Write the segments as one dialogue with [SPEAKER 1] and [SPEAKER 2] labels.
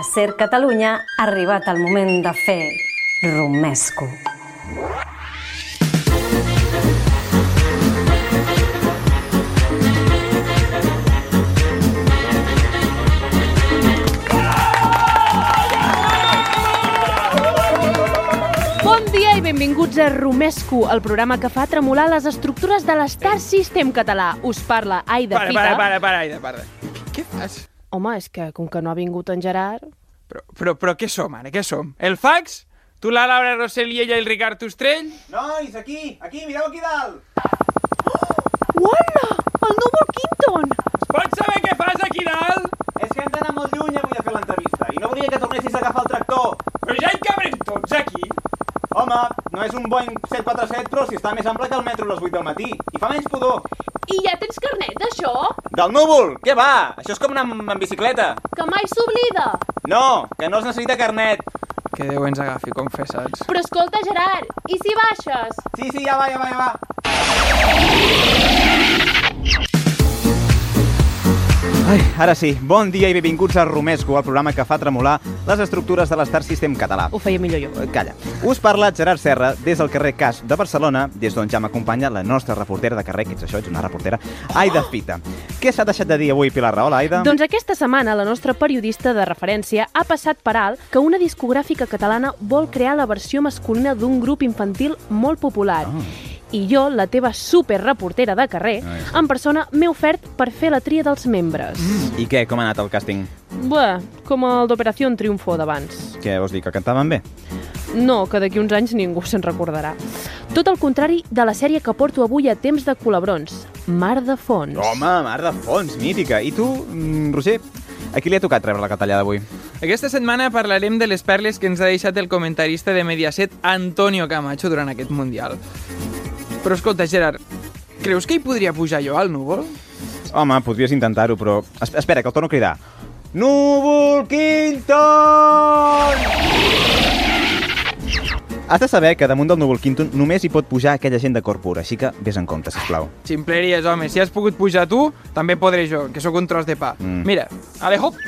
[SPEAKER 1] A Ser Catalunya ha arribat el moment de fer romesco.
[SPEAKER 2] Bon dia i benvinguts a Romesco, el programa que fa tremolar les estructures de l'Star System català. Us parla Aida
[SPEAKER 3] Para,
[SPEAKER 2] Fita.
[SPEAKER 3] para, para, para, Aida, para. Què fas?
[SPEAKER 2] Home, és que com que no ha vingut en Gerard...
[SPEAKER 3] Però, però, però què som, ara? Què som? El fax? Tu, la Laura Rossell i ella, el Ricard Ostrell?
[SPEAKER 4] Nois, aquí, aquí, mireu aquí dalt!
[SPEAKER 2] Uala! El núvol Quinton!
[SPEAKER 3] Es pot saber què fas aquí dalt?
[SPEAKER 4] És que hem d'anar molt lluny avui a fer l'entrevista i no volia que tornessis a agafar el tractor.
[SPEAKER 3] Però ja hi cabrem tots aquí.
[SPEAKER 4] Home, no és un Boeing 747, però si està més ample que el metro a les 8 del matí. I fa menys pudor.
[SPEAKER 5] I ja tens carnet d'això?
[SPEAKER 4] Del núvol! Què va? Això és com anar amb, amb bicicleta.
[SPEAKER 5] Que mai s'oblida!
[SPEAKER 4] No, que no es necessita carnet.
[SPEAKER 3] Que Déu ens agafi, confessats.
[SPEAKER 5] Però escolta, Gerard, i si baixes?
[SPEAKER 4] Sí, sí, ja va, ja va, ja va. Ai, ara sí. Bon dia i benvinguts a Romesco, el programa que fa tremolar les estructures de l'Star System català. Eh,
[SPEAKER 2] Ho feia millor jo.
[SPEAKER 4] Calla. Us parla Gerard Serra des del carrer Cas de Barcelona, des d'on ja m'acompanya la nostra reportera de carrer, que ets això, ets una reportera, Aida
[SPEAKER 2] Oh!
[SPEAKER 4] Fita. Què s'ha deixat de dir avui, Pilar Rahola, Aida?
[SPEAKER 2] Doncs aquesta setmana la nostra periodista de referència ha passat per alt que una discogràfica catalana vol crear la versió masculina d'un grup infantil molt popular.
[SPEAKER 4] Ah.
[SPEAKER 2] I jo, la teva superreportera de carrer, en persona m'he ofert per fer la tria dels membres.
[SPEAKER 4] I què, com ha anat el càsting?
[SPEAKER 2] Bé, com el d'Operació Triunfo d'abans.
[SPEAKER 4] Què vols dir, que cantaven bé?
[SPEAKER 2] No, que d'aquí uns anys ningú se'n recordarà. Tot el contrari de la sèrie que porto avui a temps de colabrons, Mar de Fons.
[SPEAKER 4] Home, Mar de Fons, mítica. I tu, mm, Roger, a qui li ha tocat rebre la catallada avui?
[SPEAKER 3] Aquesta setmana parlarem de les perles que ens ha deixat el comentarista de Mediaset, Antonio Camacho, durant aquest Mundial. Però escolta, Gerard, creus que hi podria pujar jo al núvol?
[SPEAKER 4] Home, podries intentar-ho, però... Es espera, que el torno a cridar. Núvol Quinton! Has de saber que damunt del núvol Quinton només hi pot pujar aquella gent de cor pur, així que vés en compte, sisplau.
[SPEAKER 3] Ximpleries, home, si has pogut pujar tu, també podré jo, que sóc un tros de pa.
[SPEAKER 4] Mm.
[SPEAKER 3] Mm. Mira, ale, hop!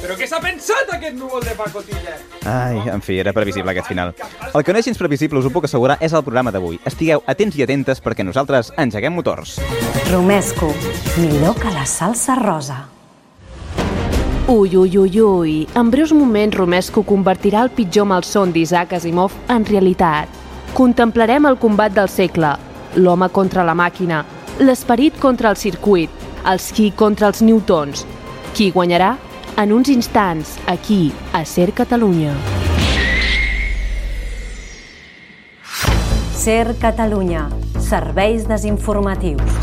[SPEAKER 3] Però què s'ha pensat aquest núvol de pacotilla?
[SPEAKER 4] Ai, en fi, era previsible aquest final. El que no és gens previsible, us ho puc assegurar, és el programa d'avui. Estigueu atents i atentes perquè nosaltres engeguem motors.
[SPEAKER 1] Romesco, millor que la salsa rosa.
[SPEAKER 2] Ui, ui, ui, ui. En breus moments, Romesco convertirà el pitjor malson d'Isaac Asimov en realitat. Contemplarem el combat del segle. L'home contra la màquina. L'esperit contra el circuit. Els qui contra els newtons. Qui guanyarà? En uns instants, aquí, a Ser Catalunya.
[SPEAKER 1] Ser Catalunya, serveis desinformatius.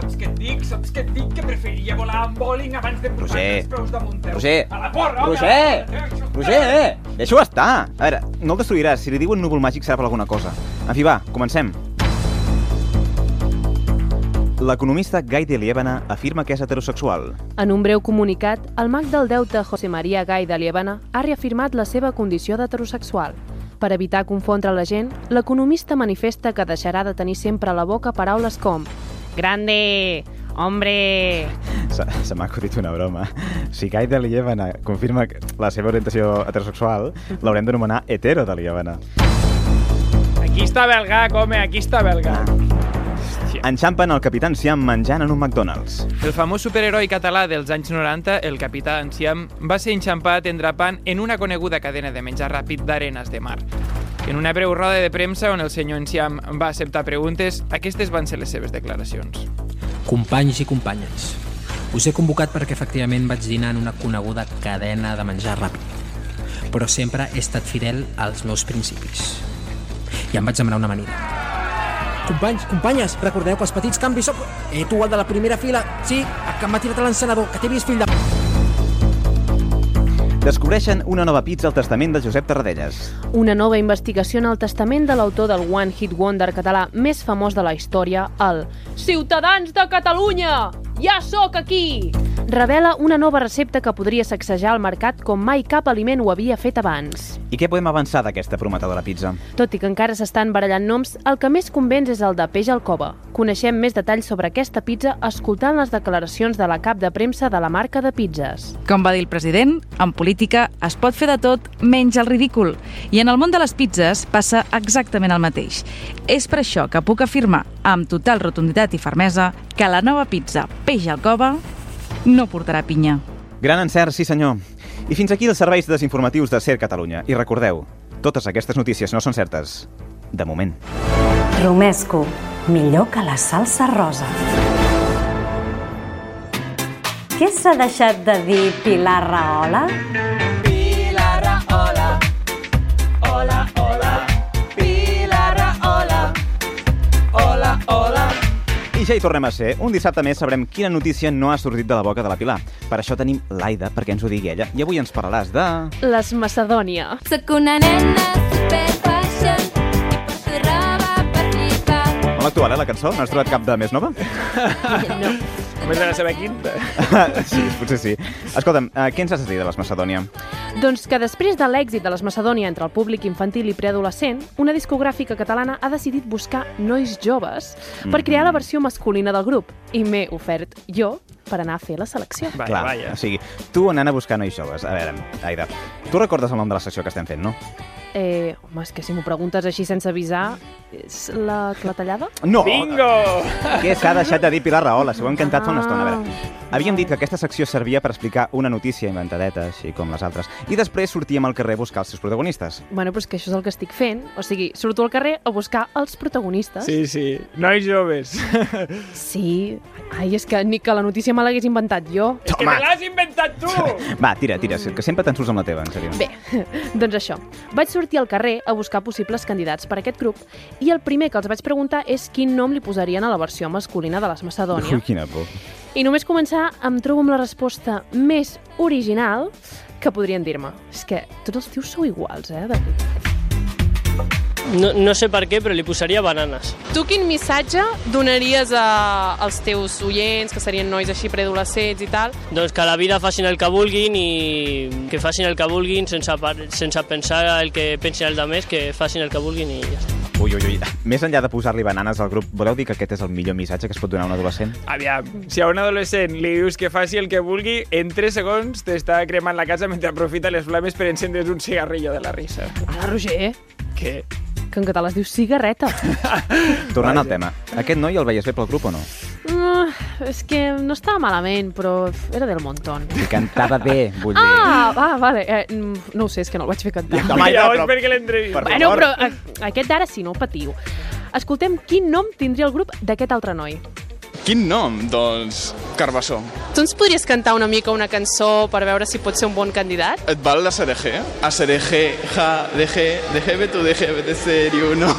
[SPEAKER 3] Saps què et dic? Saps què et dic? Que preferiria volar amb bowling abans de posar
[SPEAKER 4] Roger.
[SPEAKER 3] els peus damunt teu.
[SPEAKER 4] Roger!
[SPEAKER 3] A la porra, home!
[SPEAKER 4] Roger! Roger,
[SPEAKER 3] Roger!
[SPEAKER 4] eh! Deixa-ho estar! A veure, no el destruiràs. Si li diuen núvol màgic serà per alguna cosa. En fi, va, comencem. L'economista Guy de Liebana afirma que és heterosexual.
[SPEAKER 2] En un breu comunicat, el mag del deute José María Gay de Liebana ha reafirmat la seva condició d'heterosexual. Per evitar confondre la gent, l'economista manifesta que deixarà de tenir sempre a la boca paraules com «Grande! Hombre!
[SPEAKER 4] Se, se m'ha acudit una broma. Si Guy de Liebana confirma que- la seva orientació heterosexual, l'haurem d'anomenar hetero de Liebana.
[SPEAKER 3] Aquí està Belga, home, aquí està Belga.
[SPEAKER 4] Ah. Enxampen el capità Siam menjant en un McDonald's.
[SPEAKER 3] El famós superheroi català dels anys 90, el capità Enciam, va ser enxampat endrapant en una coneguda cadena de menjar ràpid d'arenes de mar. En una breu roda de premsa on el senyor Enciam va acceptar preguntes, aquestes van ser les seves declaracions.
[SPEAKER 6] Companys i companyes, us he convocat perquè efectivament vaig dinar en una coneguda cadena de menjar ràpid, però sempre he estat fidel als meus principis. I em vaig demanar una amanida. Companys, companyes, recordeu que els petits canvis sóc... Eh, tu, el de la primera fila, sí, el que m'ha tirat a l'encenador, que t'he vist, fill de...
[SPEAKER 4] Descobreixen una nova pizza al testament de Josep Tarradellas.
[SPEAKER 2] Una nova investigació en el testament de l'autor del One Hit Wonder català més famós de la història, el Ciutadans de Catalunya! Ja sóc aquí! revela una nova recepta que podria sacsejar el mercat com mai cap aliment ho havia fet abans.
[SPEAKER 4] I què podem avançar d'aquesta prometedora pizza?
[SPEAKER 2] Tot i que encara s'estan barallant noms, el que més convenç és el de peix al cova. Coneixem més detalls sobre aquesta pizza escoltant les declaracions de la cap de premsa de la marca de pizzas.
[SPEAKER 7] Com va dir el president, en política es pot fer de tot menys el ridícul. I en el món de les pizzas passa exactament el mateix. És per això que puc afirmar amb total rotunditat i fermesa que la nova pizza Peix al Cova no portarà pinya.
[SPEAKER 4] Gran encert, sí senyor. I fins aquí els serveis desinformatius de Ser Catalunya. I recordeu, totes aquestes notícies no són certes. De moment.
[SPEAKER 1] Romesco, millor que la salsa rosa. Què s'ha deixat de dir Pilar Rahola?
[SPEAKER 4] I ja hi tornem a ser. Un dissabte més sabrem quina notícia no ha sortit de la boca de la Pilar. Per això tenim l'Aida, perquè ens ho digui ella. I avui ens parlaràs de...
[SPEAKER 2] Les Macedònia.
[SPEAKER 8] Sóc una nena super fashion i porto roba per flipar.
[SPEAKER 4] Molt actual, eh, la cançó? No has trobat cap de més nova?
[SPEAKER 3] Només ara saber quin...
[SPEAKER 4] sí, potser sí. Escolta'm, eh, què ens has de dir de les Macedònia?
[SPEAKER 2] Doncs que després de l'èxit de les Macedònia entre el públic infantil i preadolescent, una discogràfica catalana ha decidit buscar nois joves per crear la versió masculina del grup. I m'he ofert jo per anar a fer la selecció.
[SPEAKER 3] Vaja,
[SPEAKER 4] Clar,
[SPEAKER 3] vaja.
[SPEAKER 4] o sigui, tu anant a buscar nois joves. A veure, Aida, tu recordes el nom de la secció que estem fent, no?
[SPEAKER 2] Eh, home, és que si m'ho preguntes així sense avisar, és la clatellada?
[SPEAKER 4] No!
[SPEAKER 3] Bingo!
[SPEAKER 4] Què s'ha deixat de dir Pilar Rahola? S'ho hem cantat fa una estona. A veure,
[SPEAKER 2] Ah.
[SPEAKER 4] havíem dit que aquesta secció servia per explicar una notícia inventadeta, així com les altres, i després sortíem al carrer a buscar els seus protagonistes.
[SPEAKER 2] Bueno, però és que això és el que estic fent. O sigui, surto al carrer a buscar els protagonistes.
[SPEAKER 3] Sí, sí. Nois joves.
[SPEAKER 2] Sí. Ai, és que ni que la notícia me l'hagués inventat jo.
[SPEAKER 3] És que te l'has inventat tu!
[SPEAKER 4] Va, tira, tira, que sempre te'n surts amb la teva, en sèrio.
[SPEAKER 2] Bé, doncs això. Vaig sortir al carrer a buscar possibles candidats per a aquest grup i el primer que els vaig preguntar és quin nom li posarien a la versió masculina de les Macedònia.
[SPEAKER 4] Ui, quina por.
[SPEAKER 2] I només començar em trobo amb la resposta més original que podrien dir-me. És que tots els tios sou iguals, eh? De...
[SPEAKER 9] No, no sé per què, però li posaria bananes.
[SPEAKER 10] Tu quin missatge donaries a, als teus oients, que serien nois així preadolescents i tal?
[SPEAKER 9] Doncs que a la vida facin el que vulguin i que facin el que vulguin sense, par- sense pensar el que pensin els altres, que facin el que vulguin i ja està.
[SPEAKER 4] Ui, ui, ui. Més enllà de posar-li bananes al grup, voleu dir que aquest és el millor missatge que es pot donar a un adolescent?
[SPEAKER 3] Aviam, si a un adolescent li dius que faci el que vulgui, en 3 segons t'està cremant la casa mentre aprofita les flames per encendre's un cigarrillo de la risa.
[SPEAKER 2] Hola, Roger, eh?
[SPEAKER 3] Què?
[SPEAKER 2] que en català es diu cigarreta.
[SPEAKER 4] Tornant al
[SPEAKER 3] Vaja.
[SPEAKER 4] tema, aquest noi el veies bé pel grup o no?
[SPEAKER 2] Mm, és que no estava malament, però era del montón.
[SPEAKER 4] I cantava bé, vull dir.
[SPEAKER 2] Ah, va, vale. Eh, mm, no ho sé, és que no el vaig fer cantar.
[SPEAKER 4] Ah,
[SPEAKER 3] Home, llavors per què l'entrevista?
[SPEAKER 4] Per
[SPEAKER 2] Bueno,
[SPEAKER 4] favor.
[SPEAKER 2] però a, aquest d'ara sí, no patiu. Escoltem quin nom tindria el grup d'aquest altre noi.
[SPEAKER 6] Quin nom? Doncs Carbassó.
[SPEAKER 10] Tu ens podries cantar una mica una cançó per veure si pot ser un bon candidat?
[SPEAKER 6] Et val la CDG? A CDG, ja, DG, DGB, tu DGB, de serio, no?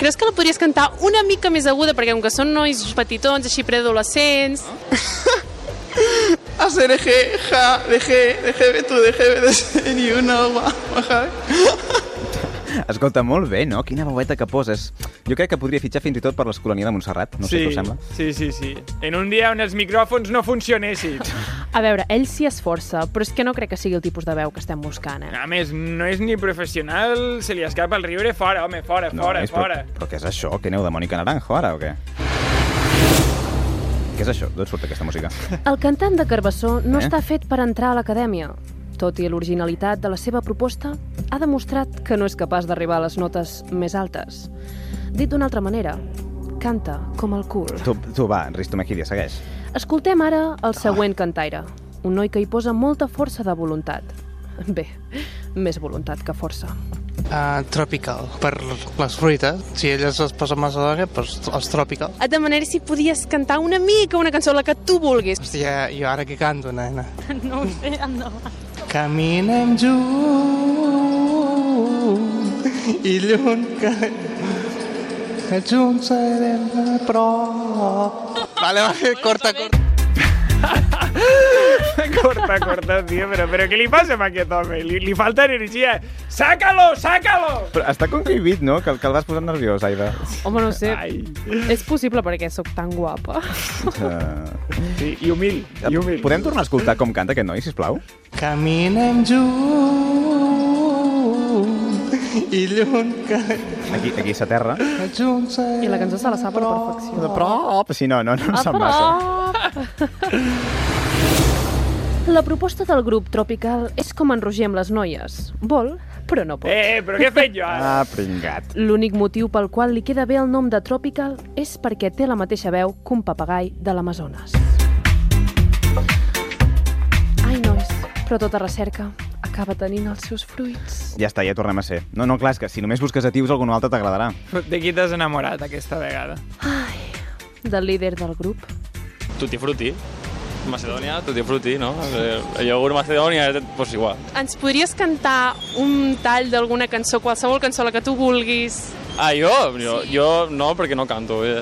[SPEAKER 10] Creus que la podries cantar una mica més aguda, perquè com que són nois petitons, així preadolescents...
[SPEAKER 6] A CDG, ja, DG, DGB, tu DGB, de serio, no? Guau, ja.
[SPEAKER 4] Escolta, molt bé, no? Quina veueta que poses. Jo crec que podria fitxar fins i tot per l'Escolania de Montserrat, no sé
[SPEAKER 3] sí,
[SPEAKER 4] què us sembla.
[SPEAKER 3] sí, sí, sí. En un dia on els micròfons no funcionessin.
[SPEAKER 2] A veure, ell s'hi esforça, però és que no crec que sigui el tipus de veu que estem buscant, eh?
[SPEAKER 3] A més, no és ni professional, se li escapa el riure fora, home, fora, fora,
[SPEAKER 4] és,
[SPEAKER 3] fora.
[SPEAKER 4] Però, però què és això? Que aneu de Mònica Naranjo ara o què? Què és això? D'on surt aquesta música?
[SPEAKER 2] El cantant de Carbassó no
[SPEAKER 4] Eh?
[SPEAKER 2] eh? està fet per entrar a l'acadèmia. Tot i l'originalitat de la seva proposta, ha demostrat que no és capaç d'arribar a les notes més altes. Dit d'una altra manera, canta com el cul.
[SPEAKER 4] Tu, tu va, Risto Mejide, segueix.
[SPEAKER 2] Escoltem ara el següent cantaire, un noi que hi posa molta força de voluntat. Bé, més voluntat que força.
[SPEAKER 11] Uh, tropical, per les fruites. Si elles es posen macedònia, doncs els tropical.
[SPEAKER 10] Et demanaré si podies cantar una mica una cançó, la que tu vulguis.
[SPEAKER 11] Hòstia, eh, jo ara què canto, nena? No ho sé, endavant. Caminem junts i lluny que... que junts serem a prop. Vale, vale, corta, corta.
[SPEAKER 3] corta, corta, tío, pero, pero ¿qué le pasa a aquest home? Li, li falta energia. Sácalo, sácalo!
[SPEAKER 4] Però està conquivit, no? Que, que el vas posar nerviós, Aida.
[SPEAKER 2] Home, no ho sé. És possible perquè sóc tan guapa.
[SPEAKER 4] Sí, i humil, i humil. Eh, Podem tornar a escoltar com canta aquest noi, sisplau?
[SPEAKER 12] Caminem junts i lluny que...
[SPEAKER 4] Aquí, aquí a terra.
[SPEAKER 12] Junts
[SPEAKER 2] I la cançó se la sap a la perfecció.
[SPEAKER 4] De prop, si no, no, no em sap massa.
[SPEAKER 2] La proposta del grup Tropical és com enrogir amb les noies. Vol, però no pot.
[SPEAKER 3] Eh, però què he fet jo ara?
[SPEAKER 4] Ah, pringat.
[SPEAKER 2] L'únic motiu pel qual li queda bé el nom de Tropical és perquè té la mateixa veu que un papagai de l'Amazones. Ai, nois, però tota recerca acaba tenint els seus fruits.
[SPEAKER 4] Ja està, ja tornem a ser. No, no, clar, és que si només busques a tios, algun altre t'agradarà.
[SPEAKER 13] De qui t'has enamorat aquesta vegada?
[SPEAKER 2] Del líder del grup.
[SPEAKER 14] Tutti Frutti. Macedònia, Tutti Frutti, no? Eh, El iogurt Macedònia, doncs igual.
[SPEAKER 15] Ens podries cantar un tall d'alguna cançó, qualsevol cançó, la que tu vulguis?
[SPEAKER 14] Ah, jo? Jo, jo no, perquè no canto. Eh.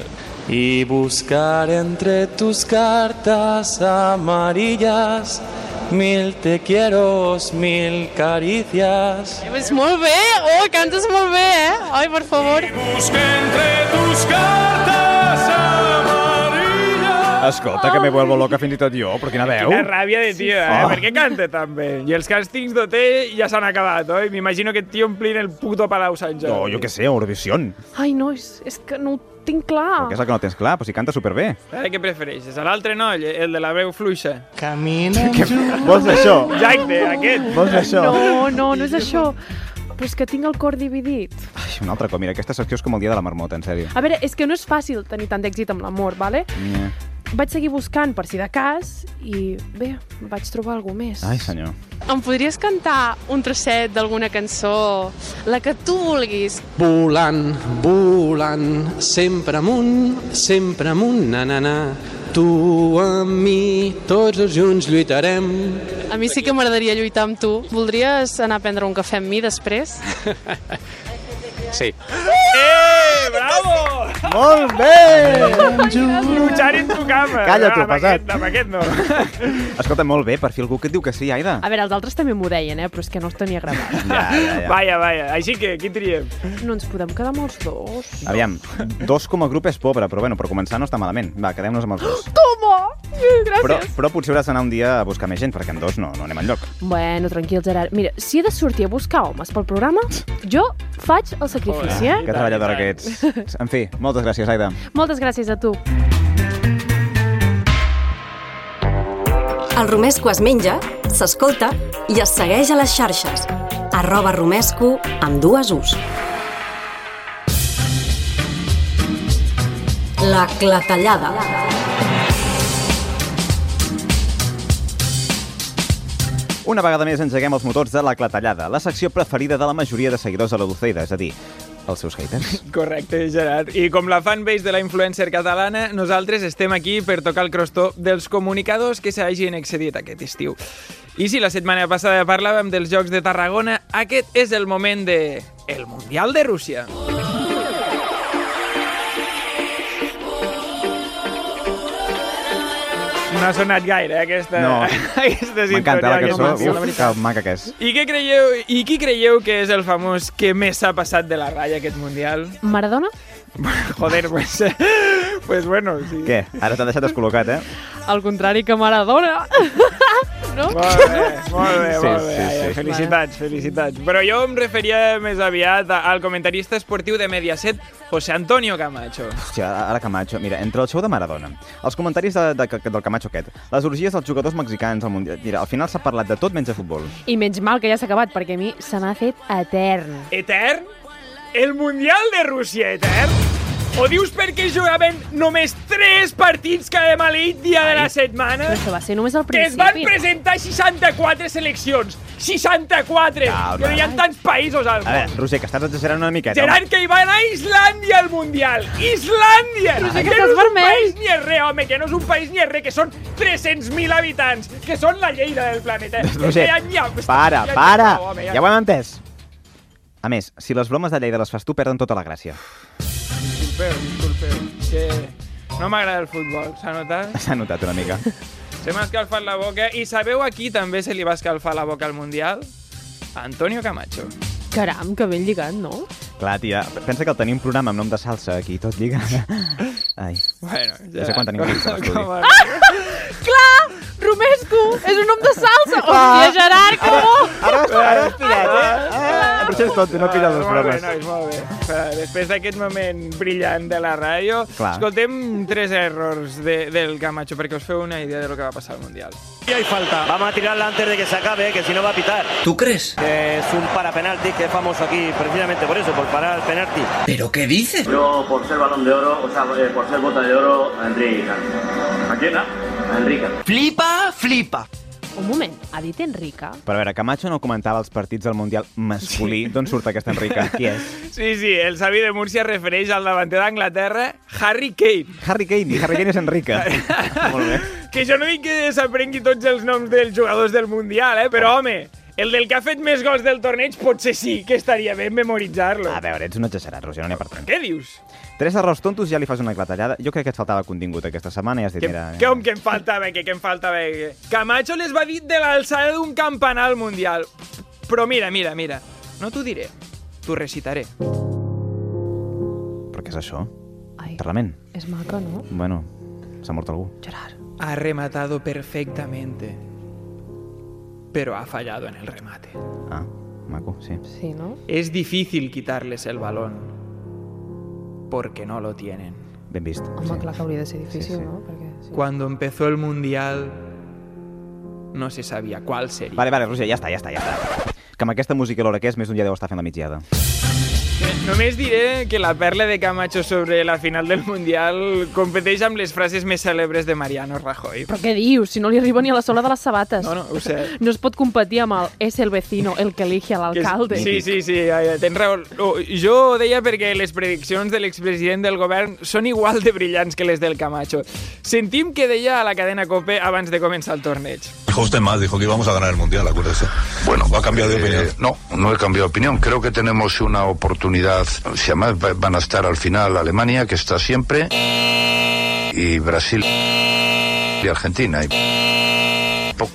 [SPEAKER 6] Y buscar entre tus cartas amarillas mil te quiero, mil caricias.
[SPEAKER 15] Pues molt bé, oh, cantes molt bé, eh? Ai, per favor.
[SPEAKER 4] Escolta, que me vuelvo loca fins i tot jo, però quina veu.
[SPEAKER 3] Quina ràbia de tio, eh?
[SPEAKER 4] Oh.
[SPEAKER 3] Per què canta tan bé? I els càstings d'hotel ja s'han acabat, oi? M'imagino que et tio omplint el puto Palau Sant Jordi.
[SPEAKER 4] No, jo què sé, Eurovisión.
[SPEAKER 2] Ai, nois, és que no ho tinc clar.
[SPEAKER 4] Que és el que no tens clar, però si canta superbé.
[SPEAKER 3] Ara Eh, què prefereixes? A l'altre noll, el de la veu fluixa?
[SPEAKER 12] Camina...
[SPEAKER 4] Que... Vols això?
[SPEAKER 3] Exacte, aquest.
[SPEAKER 4] Vols això?
[SPEAKER 2] No, no, no és això. Però és que tinc el cor dividit.
[SPEAKER 4] Ai, un altre cop, mira, aquesta secció és com el dia de la marmota, en sèrio.
[SPEAKER 2] A veure, és que no és fàcil tenir tant d'èxit amb l'amor, vale?
[SPEAKER 4] Yeah.
[SPEAKER 2] Vaig seguir buscant per si de cas i bé, vaig trobar algú més.
[SPEAKER 4] Ai, senyor.
[SPEAKER 15] Em podries cantar un trosset d'alguna cançó, la que tu vulguis?
[SPEAKER 6] Volant, volant, sempre amunt, sempre amunt, na, na, na. Tu amb mi, tots els junts lluitarem.
[SPEAKER 15] A mi sí que m'agradaria lluitar amb tu. Voldries anar a prendre un cafè amb mi després?
[SPEAKER 6] Sí.
[SPEAKER 3] Eh, bravo!
[SPEAKER 4] Molt bé!
[SPEAKER 3] Luchar en tu cama.
[SPEAKER 4] Calla, tu,
[SPEAKER 3] Ah, amb
[SPEAKER 4] pesat.
[SPEAKER 3] Aquest, amb aquest no.
[SPEAKER 4] Escolta, molt bé, per fi algú que et diu que sí, Aida.
[SPEAKER 2] A veure, els altres també m'ho deien, eh? però és que no els tenia gravat.
[SPEAKER 4] Ja, ja, ja.
[SPEAKER 3] Vaya, vaya. Així que, qui triem?
[SPEAKER 2] No ens podem quedar amb els dos.
[SPEAKER 4] Aviam, dos com a grup és pobre, però bueno, per començar no està malament. Va, quedem-nos amb els dos.
[SPEAKER 2] Toma! Gràcies.
[SPEAKER 4] Però, però potser hauràs d'anar un dia a buscar més gent, perquè amb dos no, no anem enlloc.
[SPEAKER 2] Bueno, tranquil, Gerard. Mira, si he de sortir a buscar homes pel programa, jo faig el sacrifici, eh?
[SPEAKER 4] Que treballadora que ets. En fi, moltes gràcies, Aida.
[SPEAKER 2] Moltes gràcies a tu.
[SPEAKER 1] El romesco es menja, s'escolta i es segueix a les xarxes. Arroba romesco amb dues ús. La clatellada.
[SPEAKER 4] Una vegada més engeguem els motors de la clatellada, la secció preferida de la majoria de seguidors de la Dulceida, és a dir, els seus haters.
[SPEAKER 3] Correcte, Gerard. I com la fanbase de la influencer catalana, nosaltres estem aquí per tocar el crostó dels comunicadors que s'hagin excedit aquest estiu. I si la setmana passada parlàvem dels Jocs de Tarragona, aquest és el moment de... El Mundial de Rússia. No ha sonat gaire, eh, aquesta,
[SPEAKER 4] No.
[SPEAKER 3] aquesta sintonia.
[SPEAKER 4] M'encanta la
[SPEAKER 3] que
[SPEAKER 4] cançó,
[SPEAKER 3] m'ha-
[SPEAKER 4] uf, que maca que és.
[SPEAKER 3] I què creieu, i qui creieu que és el famós que més s'ha passat de la ratlla aquest Mundial?
[SPEAKER 2] Maradona?
[SPEAKER 3] Joder, pues... pues bueno, sí.
[SPEAKER 4] Què? Ara t'ha deixat descol·locat, eh?
[SPEAKER 2] Al contrari que Maradona. no?
[SPEAKER 3] Molt bé,
[SPEAKER 4] Sí,
[SPEAKER 3] molt bé, Eh, molt bé.
[SPEAKER 4] sí,
[SPEAKER 3] Ai,
[SPEAKER 4] sí.
[SPEAKER 3] ai, Felicitats, felicitats. Però jo em referia més aviat a- al comentarista esportiu de Mediaset, José Antonio Camacho.
[SPEAKER 4] Hòstia, ara Camacho, mira, entre el show de Maradona, els comentaris de, de, del Camacho aquest, les orgies dels jugadors mexicans al Mundial... Mira, al final s'ha parlat de tot menys de futbol.
[SPEAKER 2] I menys mal que ja s'ha acabat, perquè a mi se m'ha fet etern.
[SPEAKER 3] Etern? El Mundial de Rússia, etern? O dius perquè jugaven només 3 partits cada maleït dia de la setmana?
[SPEAKER 2] Però això va ser només al
[SPEAKER 3] Que es van
[SPEAKER 2] principi.
[SPEAKER 3] presentar 64 seleccions. 64!
[SPEAKER 4] Calma.
[SPEAKER 3] Que no hi ha tants països
[SPEAKER 4] A
[SPEAKER 3] al
[SPEAKER 4] veure,
[SPEAKER 3] món.
[SPEAKER 4] Roger, que estàs exagerant una miqueta.
[SPEAKER 3] Gerard, que hi va anar a Islàndia al Mundial. Islàndia!
[SPEAKER 4] Però sí que
[SPEAKER 3] que no
[SPEAKER 4] estàs
[SPEAKER 3] és un
[SPEAKER 4] vermell.
[SPEAKER 3] país ni és res, home, que no és un país ni és res, que són 300.000 habitants, que són la lleida del planeta.
[SPEAKER 4] Roger,
[SPEAKER 3] Ja n'hi ha-
[SPEAKER 4] Doncs, para,
[SPEAKER 3] ja n'hi ha
[SPEAKER 4] para!
[SPEAKER 3] prou, home,
[SPEAKER 4] Ja ho hem entès. A més, si les bromes de Lleida les fas tu, perden tota la gràcia.
[SPEAKER 3] Disculpeu, disculpeu. Que no m'agrada el futbol, s'ha notat?
[SPEAKER 4] S'ha notat una mica.
[SPEAKER 3] Se m'ha escalfat la boca. I sabeu a qui també se li va escalfar la boca al Mundial? Antonio Camacho.
[SPEAKER 2] Caram, que ben lligat, no?
[SPEAKER 4] Clar, tia, pensa que el tenim programa amb nom de salsa aquí, tot lliga. Ai.
[SPEAKER 3] Bueno, ja...
[SPEAKER 4] No sé quan tenim temps a l'estudi.
[SPEAKER 2] Ah! Clar! Romesco! És un nom de salsa! Hòstia, Gerard, que bo!
[SPEAKER 4] Ara, ara has pillat, eh? Ah, però això és tot, no pilles els
[SPEAKER 3] Molt bé,
[SPEAKER 4] programes.
[SPEAKER 3] nois, molt bé. Eh, Després d'aquest moment brillant de la ràdio,
[SPEAKER 4] Clar.
[SPEAKER 3] escoltem tres errors de, del Camacho perquè us feu una idea de lo que va passar al Mundial.
[SPEAKER 16] Y hay falta. Vamos a tirarla antes de que se acabe, eh, que si no va a pitar.
[SPEAKER 17] ¿Tú crees?
[SPEAKER 16] Que es un para penalti que es famoso aquí precisamente por eso, por parar el penalti.
[SPEAKER 17] ¿Pero qué dices?
[SPEAKER 16] Yo, por ser balón de oro, o sea, eh, por ser bota de oro, a Enrique. ¿A quién? ah? A Enrique.
[SPEAKER 2] Flipa, flipa! Un moment, ha dit Enrica?
[SPEAKER 4] Però a veure, Camacho no comentava els partits del Mundial masculí. D'on surt aquesta Enrica? Qui és?
[SPEAKER 3] Sí, sí, el Xavi de Múrcia es refereix al davanter d'Anglaterra, Harry Kane.
[SPEAKER 4] Harry Kane, i Harry Kane és Enrica. Molt bé.
[SPEAKER 3] Que jo no dic que s'aprengui tots els noms dels jugadors del Mundial, eh? però home, el del que ha fet més gols del torneig potser sí que estaria bé memoritzar-lo.
[SPEAKER 4] A veure, ets un exagerat, Roger, no n'hi ha per tant.
[SPEAKER 3] Què dius?
[SPEAKER 4] Tres errors tontos ja li fas una clatellada. Jo crec que et faltava contingut aquesta setmana i has dit, mira... eh.
[SPEAKER 3] Que, home, que em faltava, que, que em faltava. Que... Camacho les va dir de l'alçada d'un campanar al Mundial. Però mira, mira, mira, no t'ho diré, t'ho recitaré.
[SPEAKER 4] Però què és això? Ai. Parlament.
[SPEAKER 2] És maca, no?
[SPEAKER 4] Bueno, s'ha mort algú.
[SPEAKER 3] Ha rematado perfectamente, pero ha fallado en el remate.
[SPEAKER 4] Ah, maco, sí.
[SPEAKER 2] Sí, no?
[SPEAKER 3] Es difícil quitarles el balón, porque no lo tienen.
[SPEAKER 4] Ben vist.
[SPEAKER 2] Home, clar que hauria de ser difícil, no? Perquè...
[SPEAKER 3] Cuando empezó el Mundial, no se sabía cuál sería.
[SPEAKER 4] Vale, vale, Roger, ja està, ja està, ja està. Que amb aquesta música a l'hora que és, més d'un ja deu estar fent la mitjada.
[SPEAKER 3] Només diré que la perla de Camacho sobre la final del Mundial competeix amb les frases més cèlebres de Mariano Rajoy.
[SPEAKER 2] Però què dius? Si no li arriba ni a la sola de les sabates. No,
[SPEAKER 3] no, ho sé.
[SPEAKER 2] No es pot competir amb el és el vecino el que elige a
[SPEAKER 3] Que és-
[SPEAKER 2] l'alcalde.
[SPEAKER 3] Sí, sí, sí, ja, ja, tens raó. Oh, Jo ho deia perquè les prediccions de l'expresident del govern són igual de brillants que les del Camacho. Sentim que deia a la cadena COPE abans de començar el torneig.
[SPEAKER 18] Dijo usted más, dijo que íbamos a ganar el Mundial, acuérdese. Bueno, ¿ha cambiado de opinión? no, no he cambiado de opinión. Creo que tenemos una oportunidad. Si además va- van a estar al final Alemania, que está siempre, y Brasil y Argentina. Y... po-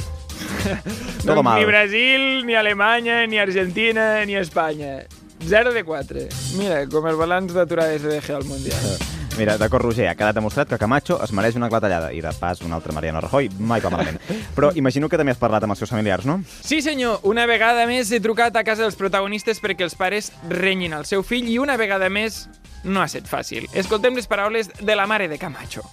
[SPEAKER 3] Doncs
[SPEAKER 18] mal.
[SPEAKER 3] Ni Brasil, ni Alemanya, ni Argentina, ni Espanya. 0 de 4. Mira, com el balanç d'aturades de DG al Mundial.
[SPEAKER 4] Mira, d'acord, Roger, ha quedat demostrat que Camacho es mereix una clatellada i de pas un altre Mariano Rajoy mai va malament. Però imagino que també has parlat amb els seus familiars, no?
[SPEAKER 3] Sí, senyor, una vegada més he trucat a casa dels protagonistes perquè els pares renyin el seu fill i una vegada més no ha set fàcil. Escoltem les paraules de la mare de Camacho.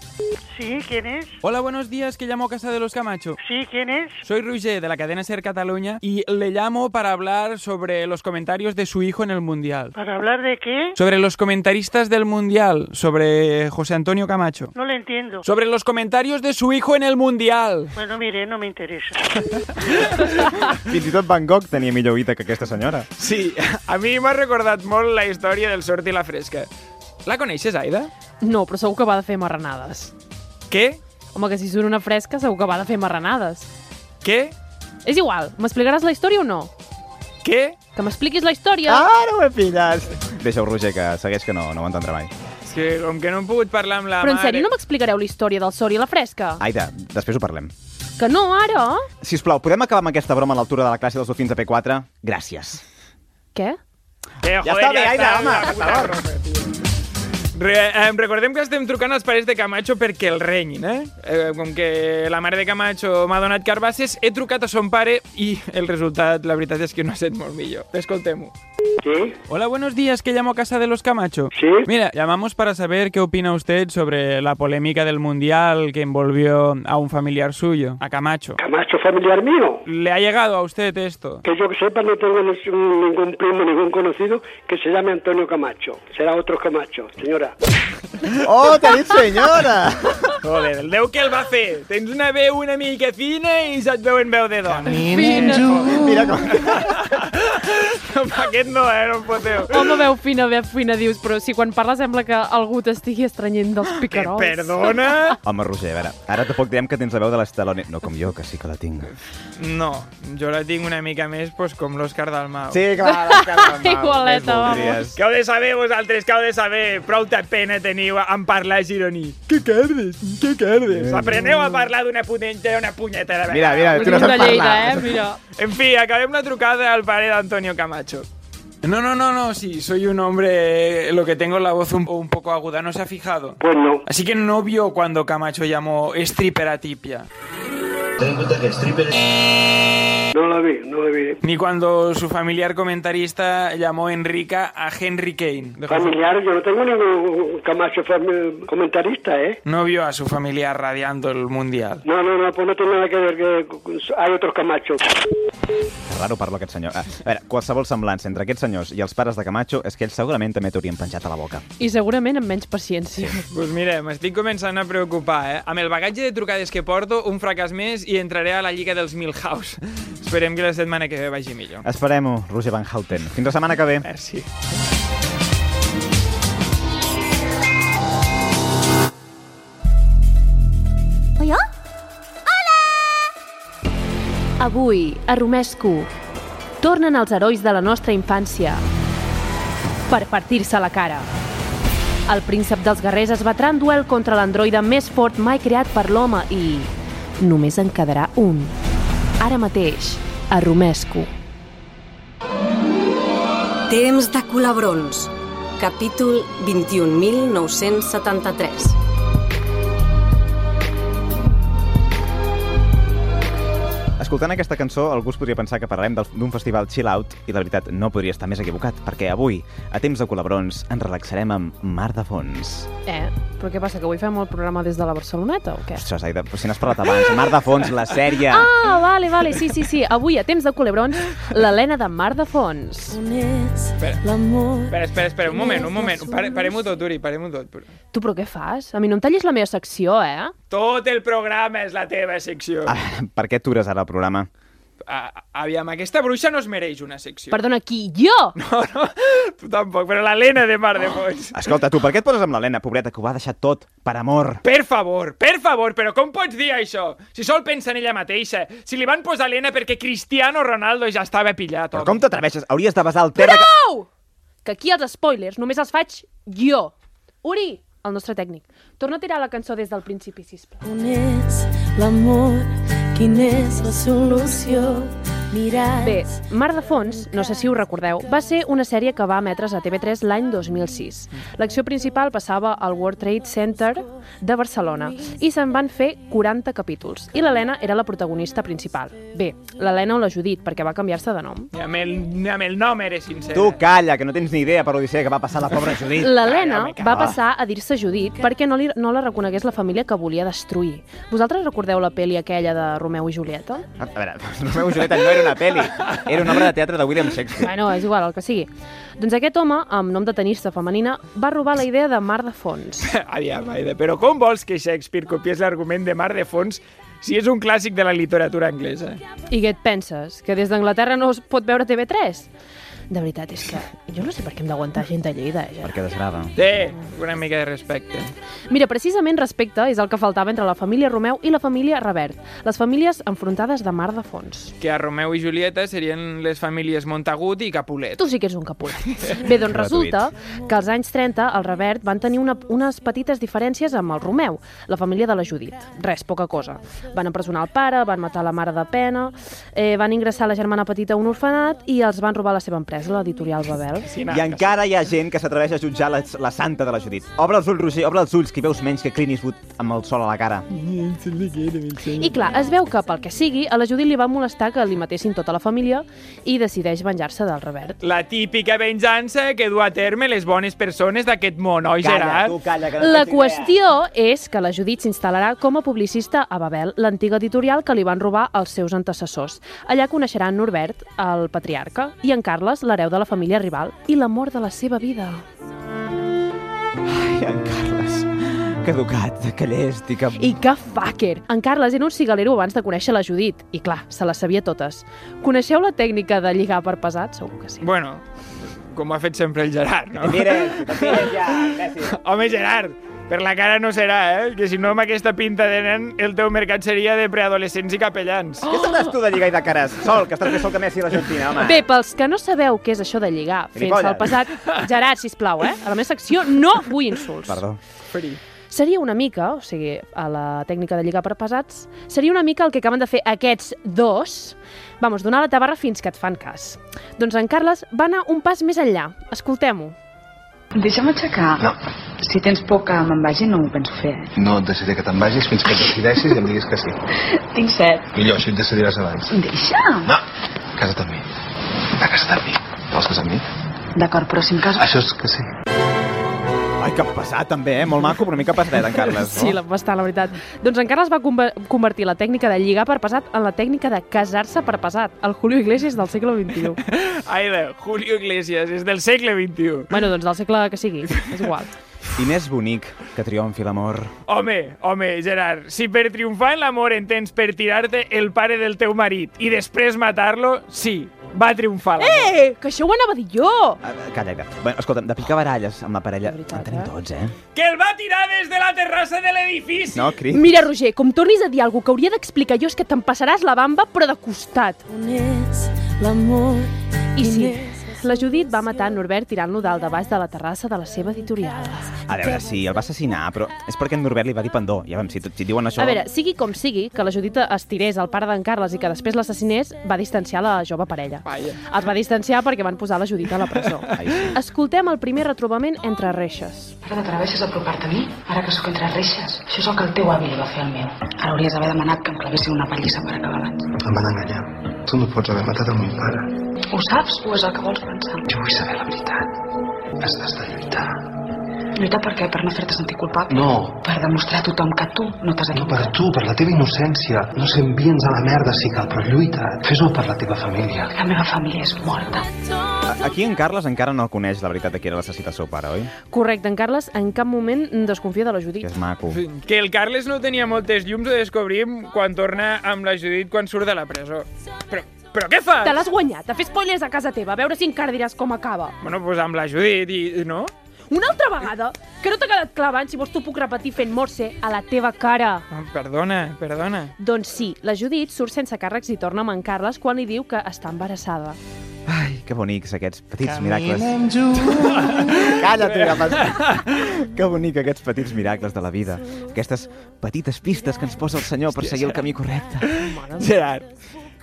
[SPEAKER 19] Sí, ¿quién es?
[SPEAKER 3] Hola, buenos días, que llamo a Casa de los Camacho.
[SPEAKER 19] Sí, ¿quién es?
[SPEAKER 3] Soy Roger de la cadena Ser Cataluña y le llamo para hablar sobre los comentarios de su hijo en el Mundial.
[SPEAKER 19] ¿Para hablar de qué?
[SPEAKER 3] Sobre los comentaristas del Mundial, sobre José Antonio Camacho.
[SPEAKER 19] No le entiendo.
[SPEAKER 3] Sobre los comentarios de su hijo en el Mundial.
[SPEAKER 19] Bueno, mire, no me interesa.
[SPEAKER 4] Fins i tot Van Gogh tenia millor oïda que aquesta senyora.
[SPEAKER 3] Sí, a mi m'ha recordat molt la història del sort i la fresca. La coneixes, Aida?
[SPEAKER 2] No, però segur que va de fer marranades.
[SPEAKER 3] Què?
[SPEAKER 2] Home, que si surt una fresca segur que va de fer marranades.
[SPEAKER 3] Què?
[SPEAKER 2] És igual, m'explicaràs la història o no?
[SPEAKER 3] Què?
[SPEAKER 2] Que m'expliquis la història?
[SPEAKER 4] Ah, no m'he pillat! Deixa-ho, Roger, que segueix que no, no ho entendrà mai.
[SPEAKER 3] És que com que no hem pogut parlar amb la
[SPEAKER 2] Però en
[SPEAKER 3] mare...
[SPEAKER 2] sèrio no m'explicareu la història del sort i la fresca?
[SPEAKER 4] Aida, després ho parlem.
[SPEAKER 2] Que no, ara?
[SPEAKER 4] Si us plau, podem acabar amb aquesta broma a l'altura de la classe dels dofins de P4? Gràcies.
[SPEAKER 2] Què?
[SPEAKER 3] Eh,
[SPEAKER 4] Ja està bé, Aida, home,
[SPEAKER 3] la
[SPEAKER 4] per
[SPEAKER 3] puta
[SPEAKER 4] favor.
[SPEAKER 3] broma, tio. Re, eh, recordem que estem trucant als pares de Camacho perquè el renyin, eh? eh com que la mare de Camacho m'ha donat carbasses, he trucat a son pare i el resultat, la veritat és que no ha estat molt millor. Escoltem-ho.
[SPEAKER 19] ¿Sí?
[SPEAKER 3] Hola, buenos días, que llamo a casa de los Camacho. Sí. Mira, llamamos para saber qué opina usted sobre la polémica del Mundial que envolvió a un familiar suyo, a Camacho.
[SPEAKER 19] ¿Camacho familiar mío?
[SPEAKER 3] ¿Le ha llegado a usted esto?
[SPEAKER 19] Que yo que sepa no tengo ni- ningún primo, ningún conocido que se llame Antonio Camacho. Será otro Camacho, señora.
[SPEAKER 4] ¡Oh, te dit senyora!
[SPEAKER 3] Joder, el Déu que el va fer. Tens una veu una miqueta fina i se't veu en veu de dona.
[SPEAKER 4] Mira com...
[SPEAKER 3] Aquest no, eh? No em foteu.
[SPEAKER 2] Home, veu fina, veu fina, dius, però si quan parles sembla que algú t'estigui estrenyent dels picarols.
[SPEAKER 3] Perdona?
[SPEAKER 4] Home, Roger, a veure, ara tampoc diem que tens la veu de l'Estalone. No com jo, que sí que la tinc.
[SPEAKER 3] No, jo la tinc una mica més pues, com l'Òscar Dalmau.
[SPEAKER 4] Sí, clar, l'Òscar Dalmau.
[SPEAKER 2] Igualeta, Més vamos. voldries.
[SPEAKER 3] Que heu de saber vosaltres, que heu de saber. Prou de pena teniu en parlar gironí. Que cardes, que cardes. Apreneu a parlar d'una punyetera, una punyetera.
[SPEAKER 4] Mira, mira, tu no saps
[SPEAKER 2] de Lleida, parlar. eh? Mira.
[SPEAKER 3] En fi, acabem la trucada al pare d'Antonio Camacho. No, no, no, no, sí, soy un hombre, eh, lo que tengo la voz un, un poco aguda, ¿no se ha fijado?
[SPEAKER 19] Pues no.
[SPEAKER 3] Así que no vio cuando Camacho llamó stripper a tipia.
[SPEAKER 19] Ten en cuenta que stripper... No la vi, no la vi.
[SPEAKER 3] Ni cuando su familiar comentarista llamó Enrica a Henry Kane. De-
[SPEAKER 19] Familiar, yo no tengo ningún camacho fami- comentarista, ¿eh?
[SPEAKER 3] No vio a su familiar radiando el mundial.
[SPEAKER 19] No, no, no, pues no tiene nada que ver que hay otros camachos.
[SPEAKER 4] Raro parlo aquest senyor. Ah, A veure, qualsevol semblança entre aquests senyors i els pares de Camacho és que ells segurament també t'haurien penjat a la boca.
[SPEAKER 2] I segurament amb menys paciència.
[SPEAKER 3] Pues mira, m'estic començant a preocupar, eh? Amb el bagatge de trucades que porto, un fracàs més i entraré a la Lliga dels Milhouse. Esperem que la setmana que ve vagi millor.
[SPEAKER 4] Esperem-ho, Roger Van Houten. Fins la setmana que ve.
[SPEAKER 3] Merci.
[SPEAKER 7] Avui, a Romesco, tornen els herois de la nostra infància per partir-se la cara. El príncep dels guerrers es batrà en duel contra l'androide més fort mai creat per l'home i... Només en quedarà un. Ara mateix, a Romesco.
[SPEAKER 1] Temps de colabrons. Capítol 21.973.
[SPEAKER 4] Escoltant aquesta cançó, algú es podria pensar que parlarem del- d'un festival chill out i la veritat no podria estar més equivocat, perquè avui, a temps de colabrons, ens relaxarem amb Mar de Fons.
[SPEAKER 2] Eh, però què passa, que avui fem el programa des de la Barceloneta o què?
[SPEAKER 4] Ostres, Aida, però si n'has parlat abans, Mar de Fons, la sèrie.
[SPEAKER 2] Ah, vale, vale, sí, sí, sí. Avui, a temps de Culebrons, l'Helena de Mar de Fons.
[SPEAKER 3] Espera. Espera, espera, espera, un moment, un moment. Pare, parem-ho tot, Uri, parem-ho tot.
[SPEAKER 2] Tu, però què fas? A mi no em tallis la meva secció, eh?
[SPEAKER 3] Tot el programa és la teva secció. Ah.
[SPEAKER 4] Per què atures ara el programa?
[SPEAKER 3] A, aviam, aquesta bruixa no es mereix una secció.
[SPEAKER 2] Perdona, qui? Jo?
[SPEAKER 3] Tu tampoc, però l'Helena de Mar de Fons.
[SPEAKER 4] Escolta, tu, per què et poses amb l'Helena, pobreta, que ho va deixar tot per amor?
[SPEAKER 3] Per favor, per favor, però com pots dir això? Si sol pensa en ella mateixa, si li van posar l'Helena perquè Cristiano Ronaldo ja estava pillat.
[SPEAKER 4] Però com t'atreveixes? Hauries de basar el terra... Que...
[SPEAKER 2] Au! Que aquí els spoilers només els faig jo. Uri, el nostre tècnic, torna a tirar la cançó des del principi, sisplau.
[SPEAKER 20] On és l'amor? Quina és la solució? Mirar...
[SPEAKER 2] Bé, Mar de Fons, no sé si ho recordeu, va ser una sèrie que va emetre's a TV3 l'any 2006. L'acció principal passava al World Trade Center de Barcelona i se'n van fer 40 capítols i l'Helena era la protagonista principal. Bé, l'Helena o la Judit, perquè va canviar-se de nom.
[SPEAKER 3] Ni amb, el, ni amb el nom eres sincera.
[SPEAKER 4] Tu calla, que no tens ni idea per l'odissea que va passar la pobra Judit.
[SPEAKER 2] L'Helena va passar a dir-se Judit perquè no, li, no la reconegués la família que volia destruir. Vosaltres recordeu la pel·li aquella de Romeu i Julieta?
[SPEAKER 4] A veure, Romeu i Julieta no era una pel·li, era una obra de teatre de William Shakespeare.
[SPEAKER 2] Bueno, és igual, el que sigui. Doncs aquest home, amb nom de tenista femenina, va robar la idea de Mar de Fons.
[SPEAKER 3] Aviam, Aida, però com vols que Shakespeare copiés l'argument de Mar de Fons si és un clàssic de la literatura anglesa?
[SPEAKER 2] I què et penses? Que des d'Anglaterra no es pot veure TV3? De veritat, és que jo no sé per què hem d'aguantar gent de Lleida, eh?
[SPEAKER 4] Perquè desgrava.
[SPEAKER 3] Té, una mica de respecte.
[SPEAKER 2] Mira, precisament respecte és el que faltava entre la família Romeu i la família Revert, les famílies enfrontades de Mar de Fons.
[SPEAKER 3] Que a Romeu i Julieta serien les famílies Montagut i Capulet.
[SPEAKER 2] Tu sí que ets un capulà. Bé, doncs resulta que als anys 30 el Revert van tenir una, unes petites diferències amb el Romeu, la família de la Judit. Res, poca cosa. Van empresonar el pare, van matar la mare de pena, eh, van ingressar la germana petita a un orfenat i els van robar la seva empresa, l'editorial Babel.
[SPEAKER 4] I encara hi ha gent que s'atreveix a jutjar la, la santa de la Judit. Obre els ulls, Roger, obre els ulls, que hi veus menys que Clint Eastwood amb el sol a la cara.
[SPEAKER 2] I clar, es veu que, pel que sigui, a la Judit li va molestar que li matessin tota la família i decideix venjar-se del Revert.
[SPEAKER 3] La típica venjança que du a terme les bones persones d'aquest món, oi,
[SPEAKER 2] Calla,
[SPEAKER 3] Gerard?
[SPEAKER 2] tu,
[SPEAKER 4] calla,
[SPEAKER 2] La qüestió és que la Judit s'instal·larà com a publicista a Babel, l'antiga editorial que li van robar els seus antecessors. Allà coneixerà en Norbert, el patriarca, i en Carles, l'hereu de la família rival, i l'amor de la seva vida.
[SPEAKER 4] Ai, en Carles. caducat, que llest i que...
[SPEAKER 2] I que fucker! En Carles era un cigalero abans de conèixer la Judit. I clar, se les sabia totes. Coneixeu la tècnica de lligar per pesat? Segur que sí.
[SPEAKER 3] Bueno, com ho ha fet sempre el Gerard, no?
[SPEAKER 21] Mires, mires ja, gràcies.
[SPEAKER 3] Home, Gerard, per la cara no serà, eh? Que si no, amb aquesta pinta de nen, el teu mercat seria de preadolescents i capellans.
[SPEAKER 21] Què sabràs tu de lligar i de cares? Sol, que estàs més sol que Messi i l'Argentina, home.
[SPEAKER 2] Bé, pels que no sabeu què és això de lligar fent-se
[SPEAKER 21] Gilipolles.
[SPEAKER 2] el pesat, Gerard, sisplau, eh? A la meva secció no vull insults.
[SPEAKER 4] Perdó.
[SPEAKER 3] Free.
[SPEAKER 2] Seria una mica, o sigui, a la tècnica de lligar per pesats, seria una mica el que acaben de fer aquests dos. Vamos, donar la tabarra fins que et fan cas. Doncs en Carles va anar un pas més enllà. Escoltem-ho.
[SPEAKER 22] Deixa'm aixecar. No. Si tens por que me'n vagi, no ho penso fer. eh?
[SPEAKER 11] No et deixaré que te'n vagis fins que decideixis i em diguis que sí.
[SPEAKER 22] Tinc set.
[SPEAKER 11] Millor, així et decidiràs abans.
[SPEAKER 22] Deixa.
[SPEAKER 11] No, casa't amb mi. A casa't amb mi. Vols casar amb mi?
[SPEAKER 22] D'acord, però si em caso...
[SPEAKER 11] Això és que sí.
[SPEAKER 4] Ai, que pesat, també, eh? Molt maco, però una mica pesadet, en Carles, no?
[SPEAKER 2] Sí, la, bastant, la veritat. Doncs en Carles va conver- convertir la tècnica de lligar per pesat en la tècnica de casar-se per pesat, el Julio Iglesias del segle XXI.
[SPEAKER 3] Aida, Julio Iglesias, és del segle XXI.
[SPEAKER 2] bueno, doncs del segle que sigui, és igual.
[SPEAKER 4] I més bonic que triomfi l'amor.
[SPEAKER 3] Home, home, Gerard, si per triomfar en l'amor entens per tirar-te el pare del teu marit i després matar-lo, sí, va triomfar l'amor.
[SPEAKER 2] Eh, que això ho anava a dir jo!
[SPEAKER 4] Eh, Calla, calla. Bueno, escolta'm, de picar baralles amb la parella veritat, en tenim tots, eh?
[SPEAKER 3] Que el va tirar des de la terrassa de l'edifici!
[SPEAKER 4] No, Cris?
[SPEAKER 2] Mira, Roger, com tornis a dir alguna que hauria d'explicar jo és que te'n passaràs la bamba, però de costat. l'amor? I sí, la Judit va matar en Norbert tirant-lo dalt de baix de la terrassa de la seva editorial.
[SPEAKER 4] A veure, sí, el va assassinar, però és perquè en Norbert li va dir pendó. Ja vam, si, si diuen això...
[SPEAKER 2] A veure, sigui com sigui, que la Judit es tirés al pare d'en Carles i que després l'assassinés, va distanciar la jove parella.
[SPEAKER 3] Vaja.
[SPEAKER 2] Els va distanciar perquè van posar la Judit a la presó. Escoltem el primer retrobament entre reixes.
[SPEAKER 22] Ara t'atreveixes a apropar-te a mi? Ara que sóc entre reixes? Això és el que el teu avi li va fer al meu. Ara hauries d'haver demanat que em clavessin una pallissa per acabar abans.
[SPEAKER 11] Em van enganyar. Tu no pots haver matat el meu pare.
[SPEAKER 22] Ho saps o és el que vols pensar?
[SPEAKER 11] Jo vull saber la veritat. Has, has de lluitar.
[SPEAKER 22] Lluitar per què? Per no fer-te sentir culpable?
[SPEAKER 11] No.
[SPEAKER 22] Per demostrar a tothom que tu no t'has
[SPEAKER 11] No per
[SPEAKER 22] equivocat.
[SPEAKER 11] tu, per la teva innocència. No sé, envia'ns a la merda si cal, però lluita. Fes-ho per la teva família.
[SPEAKER 22] La meva família és morta.
[SPEAKER 4] A- Aquí en Carles encara no coneix la veritat de qui era l'assassí del seu pare, oi?
[SPEAKER 2] Correcte, en Carles en cap moment desconfia de la Judit.
[SPEAKER 4] Que és maco.
[SPEAKER 3] Que el Carles no tenia moltes llums ho descobrim quan torna amb la Judit quan surt de la presó. Però, però què fas?
[SPEAKER 2] Te l'has guanyat, a fer spoilers a casa teva, a veure si encara diràs com acaba.
[SPEAKER 3] Bueno, doncs amb la Judit i... i no?
[SPEAKER 2] Una altra vegada? Que no t'ha quedat clavant, si vols t'ho puc repetir fent morse a la teva cara.
[SPEAKER 3] Ah, Perdona, perdona.
[SPEAKER 2] Doncs sí, la Judit surt sense càrrecs i torna amb en Carles quan li diu que està embarassada.
[SPEAKER 4] Ai, que bonics aquests petits miracles.
[SPEAKER 2] Caminem
[SPEAKER 4] Calla't, ja pas- Que bonic aquests petits miracles de la vida. Aquestes petites pistes que ens posa el senyor per seguir el camí correcte.
[SPEAKER 3] Gerard,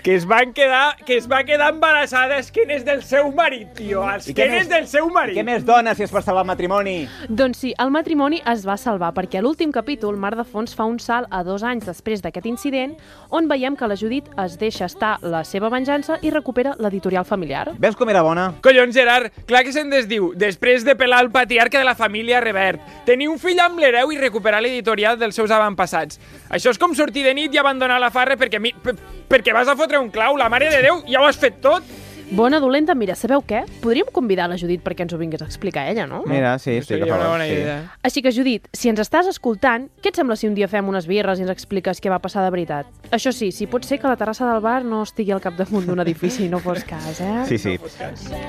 [SPEAKER 3] que es van quedar, que es va quedar embarassada és que n'és del seu marit, tio. Els
[SPEAKER 2] I
[SPEAKER 3] que
[SPEAKER 2] què
[SPEAKER 3] n'és
[SPEAKER 2] més-
[SPEAKER 3] del seu marit.
[SPEAKER 2] què
[SPEAKER 4] més dona si és per salvar el matrimoni?
[SPEAKER 2] Doncs sí, el matrimoni es va salvar perquè a l'últim capítol Mar de Fons fa un salt a dos anys després d'aquest incident on veiem que la Judit es deixa estar la seva venjança i recupera l'editorial familiar.
[SPEAKER 4] Veus com era bona?
[SPEAKER 3] Collons, Gerard, clar que se'n desdiu. Després de pelar el patriarca de la família Revert, tenir un fill amb l'hereu i recuperar l'editorial dels seus avantpassats. Això és com sortir de nit i abandonar la farra perquè, mi, per- perquè vas a fotre un clau. La mare de Déu, ja ho has fet tot.
[SPEAKER 2] Bona dolenta, mira, sabeu què? Podríem convidar la Judit perquè ens ho vingués a explicar ella, no?
[SPEAKER 4] Mira, sí, sí,
[SPEAKER 3] Seria
[SPEAKER 4] que fa
[SPEAKER 3] una
[SPEAKER 4] bo,
[SPEAKER 3] bona
[SPEAKER 4] sí.
[SPEAKER 3] idea.
[SPEAKER 2] Així que, Judit, si ens estàs escoltant, què et sembla si un dia fem unes birres i ens expliques què va passar de veritat? Això sí, si pot ser que la terrassa del bar no estigui al capdamunt d'un edifici, no fos cas, eh?
[SPEAKER 4] Sí, sí.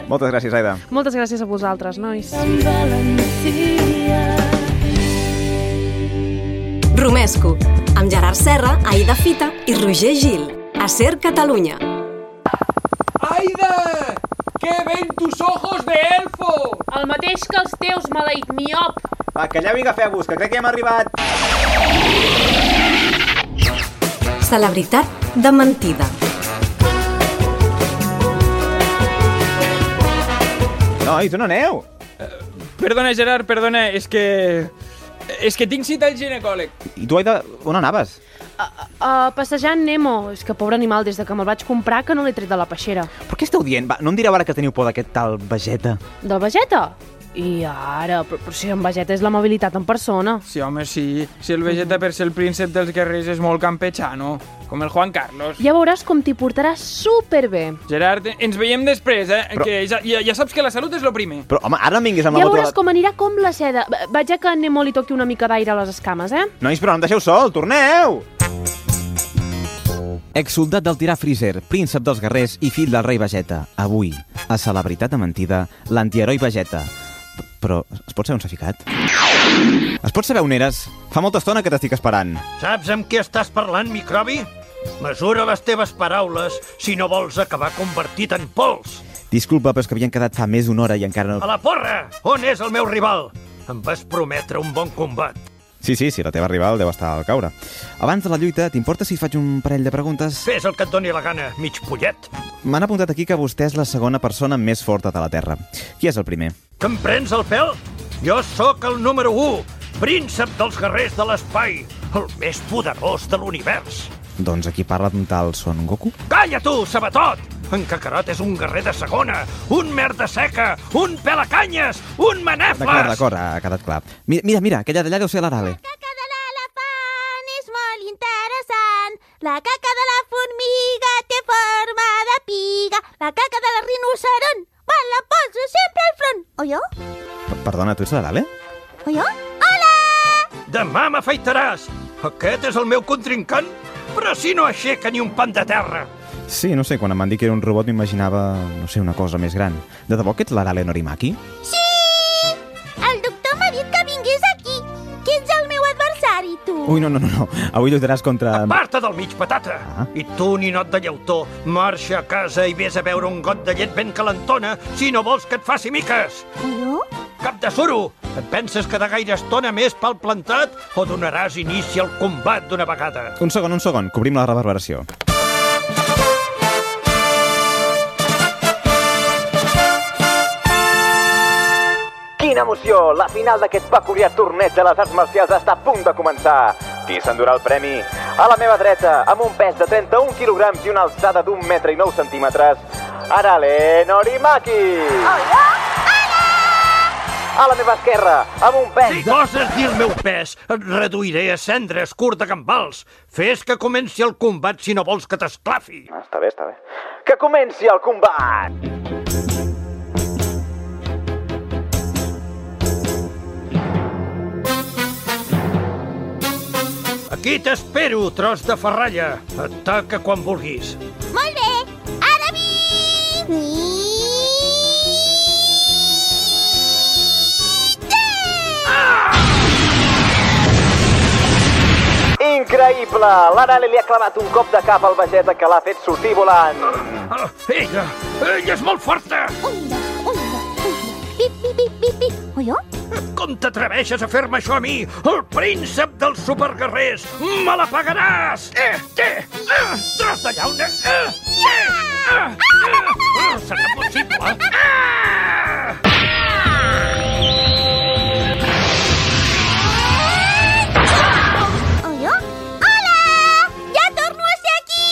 [SPEAKER 4] Moltes gràcies, Aida.
[SPEAKER 2] Moltes gràcies a vosaltres, nois.
[SPEAKER 1] Romesco, amb Gerard Serra, Aida Fita i Roger Gil. A Ser Catalunya.
[SPEAKER 3] ¡Aida! ¡Que ven tus ojos de elfo!
[SPEAKER 2] El mateix que els teus, maleït miop.
[SPEAKER 4] Va, calleu i agafeu-vos, que crec que hem arribat.
[SPEAKER 1] Celebritat de mentida.
[SPEAKER 4] Nois, on aneu?
[SPEAKER 23] Eh,
[SPEAKER 3] Perdona, Gerard, perdona, és que... És que tinc cita al ginecòleg.
[SPEAKER 4] I tu, Aida, on anaves?
[SPEAKER 2] Uh, passejant Nemo. És que, pobre animal, des de que me'l vaig comprar que no l'he tret de la peixera.
[SPEAKER 4] Però què esteu dient? Va, no em direu ara que teniu por d'aquest tal Vegeta.
[SPEAKER 2] Del Vegeta? I ara, però, però si en Vegeta és l'amabilitat en persona.
[SPEAKER 23] Sí, home, sí. Si el Vegeta per ser el príncep dels guerrers és molt campechano, com el Juan Carlos.
[SPEAKER 2] Ja veuràs com t'hi portarà superbé.
[SPEAKER 23] Gerard, ens veiem després, eh? Però... Que ja, ja, ja saps que la salut és lo primer.
[SPEAKER 4] Però, home, ara no vinguis amb
[SPEAKER 2] ja
[SPEAKER 4] la botella...
[SPEAKER 2] veuràs com anirà com la seda. Va- Vaig a que en Nemo li toqui una mica d'aire a les escames, eh?
[SPEAKER 4] Nois, però no em deixeu sol, torneu! Exsoldat del tirà Freezer, príncep dels guerrers i fill del rei Vegeta. Avui, a Celebritat de Mentida, l'antiheroi Vegeta. P- Però es pot saber on s'ha ficat? Es pot saber on eres? Fa molta estona que t'estic esperant.
[SPEAKER 16] Saps amb què estàs parlant, microbi? Mesura les teves paraules si no vols acabar convertit en pols.
[SPEAKER 4] Disculpa, però és que havien quedat fa més d'una hora i encara
[SPEAKER 16] A
[SPEAKER 4] no...
[SPEAKER 16] la porra! On és el meu rival? Em vas prometre un bon combat.
[SPEAKER 4] Sí, sí, sí, la teva rival deu estar al caure. Abans de la lluita, t'importa si et faig un parell de preguntes?
[SPEAKER 16] Fes el que et doni la gana, mig pollet.
[SPEAKER 4] M'han apuntat aquí que vostè és la segona persona més forta de la Terra. Qui és el primer?
[SPEAKER 16] Que em prens el pèl? Jo sóc el número 1, príncep dels guerrers de l'espai, el més poderós de l'univers.
[SPEAKER 4] Doncs aquí parla d'un tal Son Goku.
[SPEAKER 16] Calla tu, sabatot! En Kakarot és un guerrer de segona, un merda seca, un pelacanyes,
[SPEAKER 4] D'acord,
[SPEAKER 16] un manefles!
[SPEAKER 4] d'acord, ha quedat clar. Mira, mira, mira aquella d'allà deu ser l'Arale.
[SPEAKER 24] és molt interessant. La caca de la formiga té forma de piga. La caca de la rinoceron me la poso sempre al front. O jo?
[SPEAKER 4] Per- Perdona, tu ets l'Arale?
[SPEAKER 24] O jo? Hola!
[SPEAKER 16] Demà m'afaitaràs! Aquest és el meu contrincant? Però si no aixeca ni un pan de terra!
[SPEAKER 4] Sí, no sé, quan em van dir que era un robot m'imaginava, no sé, una cosa més gran. De debò que ets l'Arale Norimaki?
[SPEAKER 24] Sí! El doctor m'ha dit que vingués aquí. Qui ets el meu adversari, tu?
[SPEAKER 4] Ui, no, no, no, no. avui lluitaràs contra...
[SPEAKER 16] Aparta del mig, patata! Ah. I tu, ninot de llautó, marxa a casa i vés a beure un got de llet ben calentona si no vols que et faci miques!
[SPEAKER 24] Jo?
[SPEAKER 16] Cap de suro! Et penses que de gaire estona més pel plantat o donaràs inici al combat d'una vegada?
[SPEAKER 4] Un segon, un segon, cobrim la reverberació.
[SPEAKER 21] Quina emoció! La final d'aquest peculiar torneig de les arts marcials està a punt de començar. Qui s'endurà el premi? A la meva dreta, amb un pes de 31 quilograms i una alçada d'un metre i 9 centímetres, Arale Norimaki! Hola! A la meva esquerra, amb un pes...
[SPEAKER 16] Si goses dir el meu pes, et reduiré a cendres, curt de gambals. Fes que comenci el combat si no vols que t'esclafi.
[SPEAKER 21] Està bé, està bé. Que comenci el combat!
[SPEAKER 16] Aquí t'espero, tros de ferralla. Ataca quan vulguis.
[SPEAKER 24] Molt bé! Ara vinc!
[SPEAKER 21] Increïble! L'Arale li ha clavat un cop de cap al Vegeta que l'ha fet sortir volant.
[SPEAKER 16] Ah, Ella! Ella és molt forta!
[SPEAKER 24] Pip, pip, pip, pip, pip. O jo?
[SPEAKER 16] Com t'atreveixes a fer-me això a mi? El príncep dels superguerrers! Me la pagaràs! Eh, eh, eh, tros de llauna! Eh, eh, eh, eh. Oh, serà possible? Eh,
[SPEAKER 24] O jo? Hola! Ja torno a ser aquí!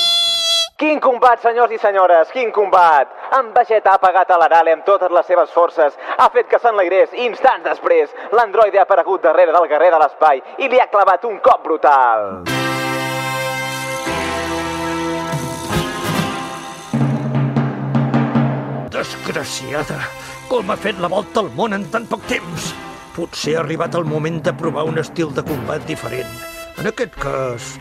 [SPEAKER 21] Quin combat, senyors i senyores, quin combat! En Vegeta ha pagat a l'Arale amb totes les seves forces, ha fet que s'enlairés i instants després l'androide ha aparegut darrere del guerrer de l'espai i li ha clavat un cop brutal.
[SPEAKER 16] Desgraciada! Com ha fet la volta al món en tan poc temps? Potser ha arribat el moment de provar un estil de combat diferent. En aquest cas...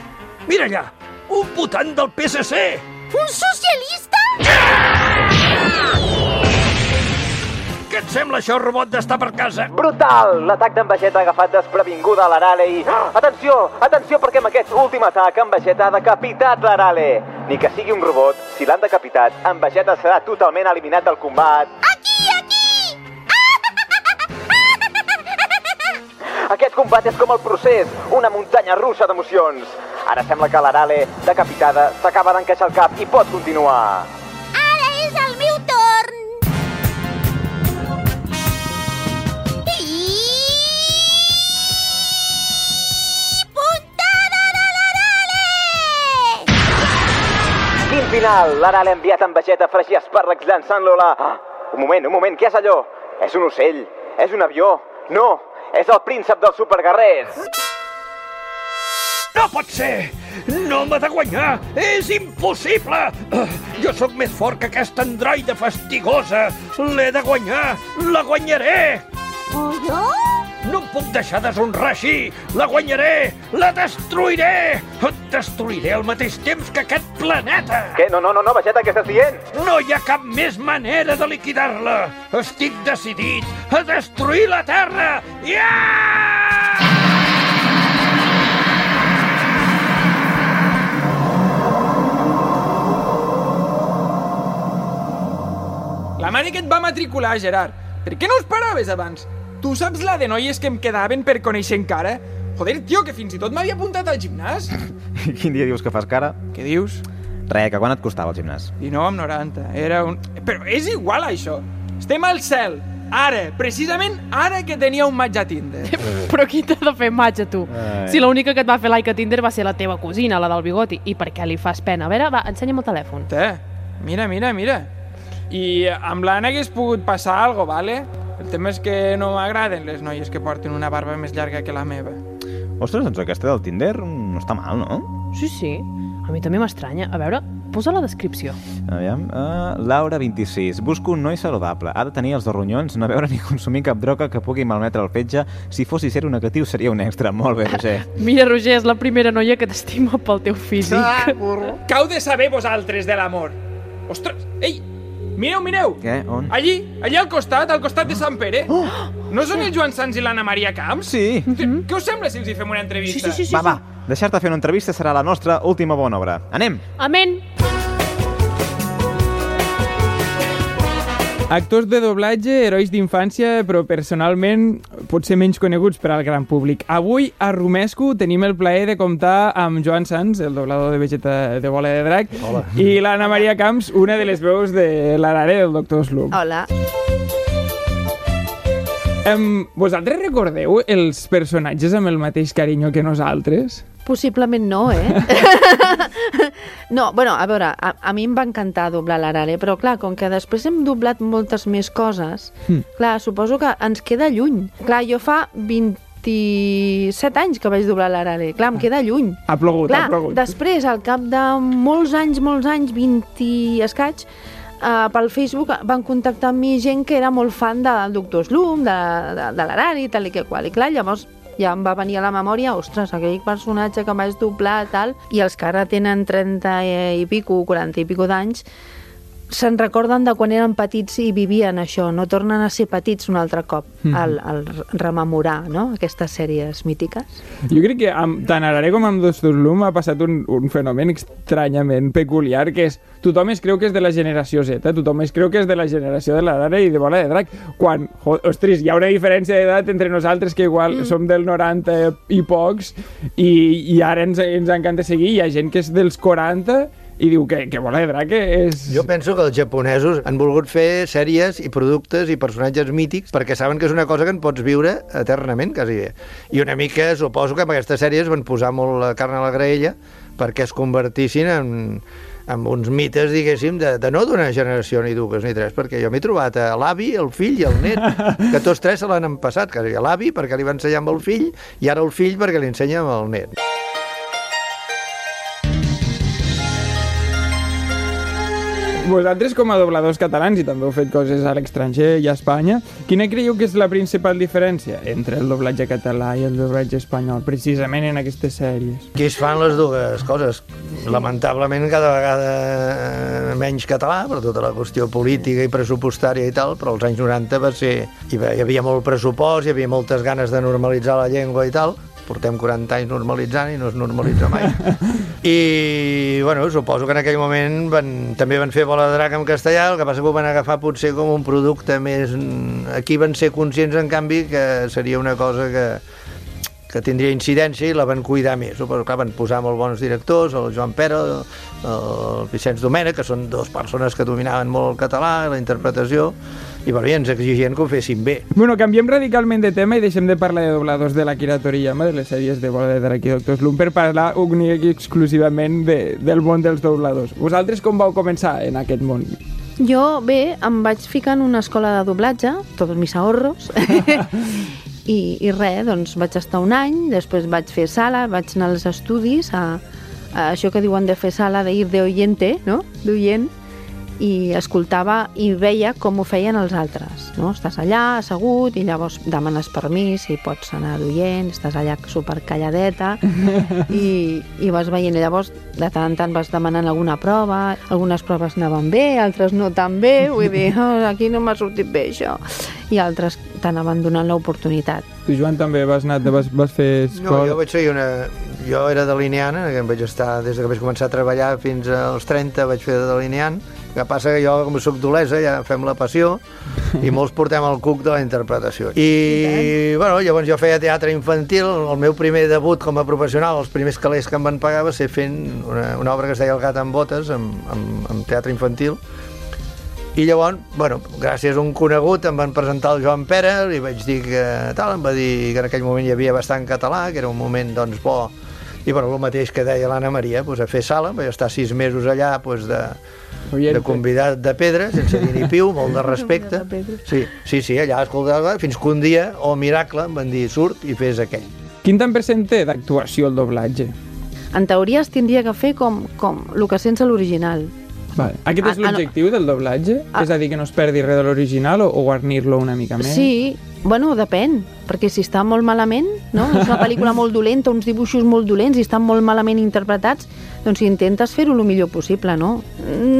[SPEAKER 16] Mira allà! Un votant del PSC!
[SPEAKER 24] Un socialista?
[SPEAKER 16] Què et sembla això, robot d'estar per casa?
[SPEAKER 21] Brutal! L'atac d'en Vegeta ha agafat desprevinguda a l'Arale i... Ah! Atenció! Atenció perquè amb aquest últim atac en Vegeta ha decapitat l'Arale! Ni que sigui un robot, si l'han decapitat, en Vegeta serà totalment eliminat del combat. Aquest combat és com el procés, una muntanya russa d'emocions. Ara sembla que l'Arale, decapitada, s'acaba d'encaixar el cap i pot continuar.
[SPEAKER 24] Ara és el meu torn! I... Puntada de l'Arale!
[SPEAKER 21] Quin final! L'Arale ha enviat en Vegeta a fregir espàrrecs llançant-lo a la... Ah, un moment, un moment, què és allò? És un ocell. És un avió! No! És el príncep dels superguerrers!
[SPEAKER 16] No pot ser! No m'ha de guanyar! És impossible! Jo sóc més fort que aquesta androida fastigosa! L'he de guanyar! La guanyaré!
[SPEAKER 24] Oh, jo?
[SPEAKER 16] No em puc deixar deshonrar així! La guanyaré! La destruiré! Et destruiré al mateix temps que aquest planeta!
[SPEAKER 21] Què? No, no, no, no, Vegeta, què estàs dient?
[SPEAKER 16] No hi ha cap més manera de liquidar-la! Estic decidit a destruir la Terra! Yeah!
[SPEAKER 3] La màniga et va matricular, Gerard. Per què no us paraves abans? Tu saps la de noies que em quedaven per conèixer encara? Joder, tio, que fins i tot m'havia apuntat al gimnàs.
[SPEAKER 4] Quin dia dius que fas cara?
[SPEAKER 3] Què dius?
[SPEAKER 4] Re, que quan et costava el gimnàs?
[SPEAKER 3] 19 amb 90. Era un... Però és igual, això. Estem al cel. Ara, precisament ara que tenia un match a Tinder.
[SPEAKER 2] Però qui t'ha de fer match a tu? Ai. Si l'única que et va fer like a Tinder va ser la teva cosina, la del bigoti. I per què li fas pena? A veure, va, ensenya'm el telèfon.
[SPEAKER 3] Té, Eh, mira, mira, mira. I eh, amb l'Anna hagués pogut passar algo, vale? El tema és que no m'agraden les noies que porten una barba més llarga que la meva.
[SPEAKER 4] Ostres, doncs aquesta del Tinder no està mal, no?
[SPEAKER 2] Sí, sí. A mi també m'estranya. A veure, posa la descripció.
[SPEAKER 4] Aviam. Uh, Laura, 26. Busco un noi saludable. Ha de tenir els dos ronyons, no beure ni consumir cap droga que pugui malmetre el fetge. Si fossi ser un negatiu seria un extra. Molt bé, Roger.
[SPEAKER 2] Mira, Roger, és la primera noia que t'estima pel teu físic. Ah,
[SPEAKER 3] burro. Que heu de saber vosaltres de l'amor. Ostres, ei, Mireu, mireu!
[SPEAKER 4] Què? On?
[SPEAKER 3] Allí, allà al costat, al costat de Sant Pere. Oh! No són els Joan Sans i l'Anna Maria Camps?
[SPEAKER 4] Sí. Mm
[SPEAKER 3] -hmm. Què us sembla si els hi fem una entrevista?
[SPEAKER 2] Sí, sí, sí. sí
[SPEAKER 4] va,
[SPEAKER 2] sí.
[SPEAKER 4] va, deixar-te fer una entrevista serà la nostra última bona obra. Anem!
[SPEAKER 2] Amén!
[SPEAKER 3] Actors de doblatge, herois d'infància, però personalment potser menys coneguts per al gran públic. Avui, a Romesco, tenim el plaer de comptar amb Joan Sanz, el doblador de Vegeta de Bola de Drac, Hola. i l'Anna Maria Camps, una de les veus de l'Arare del Doctor Slump.
[SPEAKER 25] Hola.
[SPEAKER 3] Um, vosaltres recordeu els personatges amb el mateix carinyo que nosaltres?
[SPEAKER 25] Possiblement no, eh? no, bueno, a veure, a, a mi em va encantar doblar l'Arare, però clar, com que després hem doblat moltes més coses, mm. clar, suposo que ens queda lluny. Clar, jo fa 27 anys que vaig doblar l'Arare, clar, em queda lluny.
[SPEAKER 3] Ha plogut,
[SPEAKER 25] clar,
[SPEAKER 3] ha plogut.
[SPEAKER 25] després, al cap de molts anys, molts anys, 20 escaig, Uh, pel Facebook van contactar amb mi gent que era molt fan del Doctor Slum, de, de, de l'Arari, tal i que qual. I clar, llavors ja em va venir a la memòria, ostres, aquell personatge que vaig doblar, tal, i els que ara tenen 30 i pico, 40 i pico d'anys, se'n recorden de quan eren petits i vivien això, no tornen a ser petits un altre cop mm -hmm. al, al rememorar no? aquestes sèries mítiques.
[SPEAKER 3] Jo crec que amb, tant Arare com amb Dos Lum ha passat un, un fenomen estranyament peculiar, que és tothom es creu que és de la generació Z, tothom es creu que és de la generació de l'Arare i de Bola de Drac, quan, ostres, hi ha una diferència d'edat entre nosaltres que igual mm. som del 90 i pocs i, i ara ens, ens encanta seguir, hi ha gent que és dels 40 i diu que, que Bola de Drac és...
[SPEAKER 26] Jo penso que els japonesos han volgut fer sèries i productes i personatges mítics perquè saben que és una cosa que en pots viure eternament, quasi bé. I una mica suposo que amb aquestes sèries van posar molt la carn a la graella perquè es convertissin en, amb uns mites, diguéssim, de, de no d'una generació, ni dues ni tres, perquè jo m'he trobat a l'avi, el fill i el net, que tots tres se l'han empassat, que a l'avi perquè li va ensenyar amb el fill i ara el fill perquè li ensenya amb el net.
[SPEAKER 3] Vosaltres, com a dobladors catalans, i també heu fet coses a l'estranger i a Espanya, quina creieu que és la principal diferència entre el doblatge català i el doblatge espanyol, precisament en aquestes sèries?
[SPEAKER 26] Aquí es fan les dues coses. Lamentablement, cada vegada menys català, per tota la qüestió política i pressupostària i tal, però als anys 90 va ser... Hi havia molt pressupost, hi havia moltes ganes de normalitzar la llengua i tal, portem 40 anys normalitzant i no es normalitza mai. I, bueno, suposo que en aquell moment van, també van fer bola de drac en castellà, el que passa que ho van agafar potser com un producte més... Aquí van ser conscients, en canvi, que seria una cosa que que tindria incidència i la van cuidar més. Suposo que van posar molt bons directors, el Joan Pere, el Vicenç Domènech, que són dues persones que dominaven molt el català, la interpretació, i bueno, ens exigien que ho fessin bé.
[SPEAKER 3] Bueno, canviem radicalment de tema i deixem de parlar de dobladors de la Kira Toriyama, de les sèries de bola de drac i Doctor Slum, per parlar únic exclusivament de, del món dels dobladors. Vosaltres com vau començar en aquest món?
[SPEAKER 25] Jo, bé, em vaig ficar en una escola de doblatge, tots mis ahorros, i, i res, doncs vaig estar un any, després vaig fer sala, vaig anar als estudis, a, a Eh, això que diuen de fer sala, de ir de oyente, no?, d'oient, i escoltava i veia com ho feien els altres. No? Estàs allà, assegut, i llavors demanes permís si pots anar d'oient, estàs allà supercalladeta, i, i vas veient. I llavors, de tant en tant, vas demanant alguna prova, algunes proves anaven bé, altres no tan bé, vull dir, oh, aquí no m'ha sortit bé això, i altres t'anaven donant l'oportunitat.
[SPEAKER 3] Tu, Joan, també vas, anar, vas, vas fer escola...
[SPEAKER 26] No, jo vaig fer una... Jo era delineant, eh, que vaig estar, des que vaig començar a treballar fins als 30 vaig fer de delineant, que passa que jo, com soc d'Olesa, ja fem la passió i molts portem el cuc de la interpretació. I, I bueno, llavors jo feia teatre infantil. El meu primer debut com a professional, els primers calés que em van pagar va ser fent una, una obra que es deia El gat amb botes, amb, amb, amb teatre infantil. I llavors, bueno, gràcies a un conegut em van presentar el Joan Pere, i vaig dir que tal, em va dir que en aquell moment hi havia bastant català, que era un moment, doncs, bo. I, bueno, el mateix que deia l'Anna Maria, doncs, a fer sala, vaig estar sis mesos allà, doncs, de, de convidat de pedra, sense dir ni piu, molt de respecte. Sí, sí, sí allà escoltava, fins que un dia, o oh, miracle, em van dir, surt i fes aquell.
[SPEAKER 3] Quin tant percent té d'actuació el doblatge?
[SPEAKER 25] En teoria es tindria que fer com, com el que sense l'original.
[SPEAKER 3] Vale. Aquest és l'objectiu del doblatge? A, és a dir, que no es perdi res de l'original o, o guarnir-lo una mica més?
[SPEAKER 25] Sí, bueno, depèn, perquè si està molt malament, no? és una pel·lícula molt dolenta, uns dibuixos molt dolents i estan molt malament interpretats, doncs si intentes fer-ho el millor possible, no?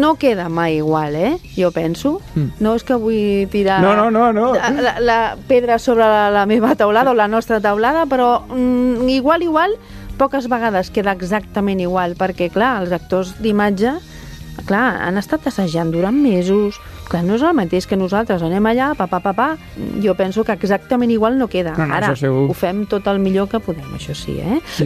[SPEAKER 25] No queda mai igual, eh? Jo penso. Mm. No és que vull tirar
[SPEAKER 3] no, no, no, no.
[SPEAKER 25] La, la, la pedra sobre la, la meva taulada o la nostra taulada, però mm, igual, igual, poques vegades queda exactament igual, perquè, clar, els actors d'imatge clar, han estat assajant durant mesos, clar, no és el mateix que nosaltres anem allà, pa, pa, pa, pa. jo penso que exactament igual no queda.
[SPEAKER 3] No, no,
[SPEAKER 25] Ara,
[SPEAKER 3] segur.
[SPEAKER 25] ho fem tot el millor que podem, això sí, eh? Sí.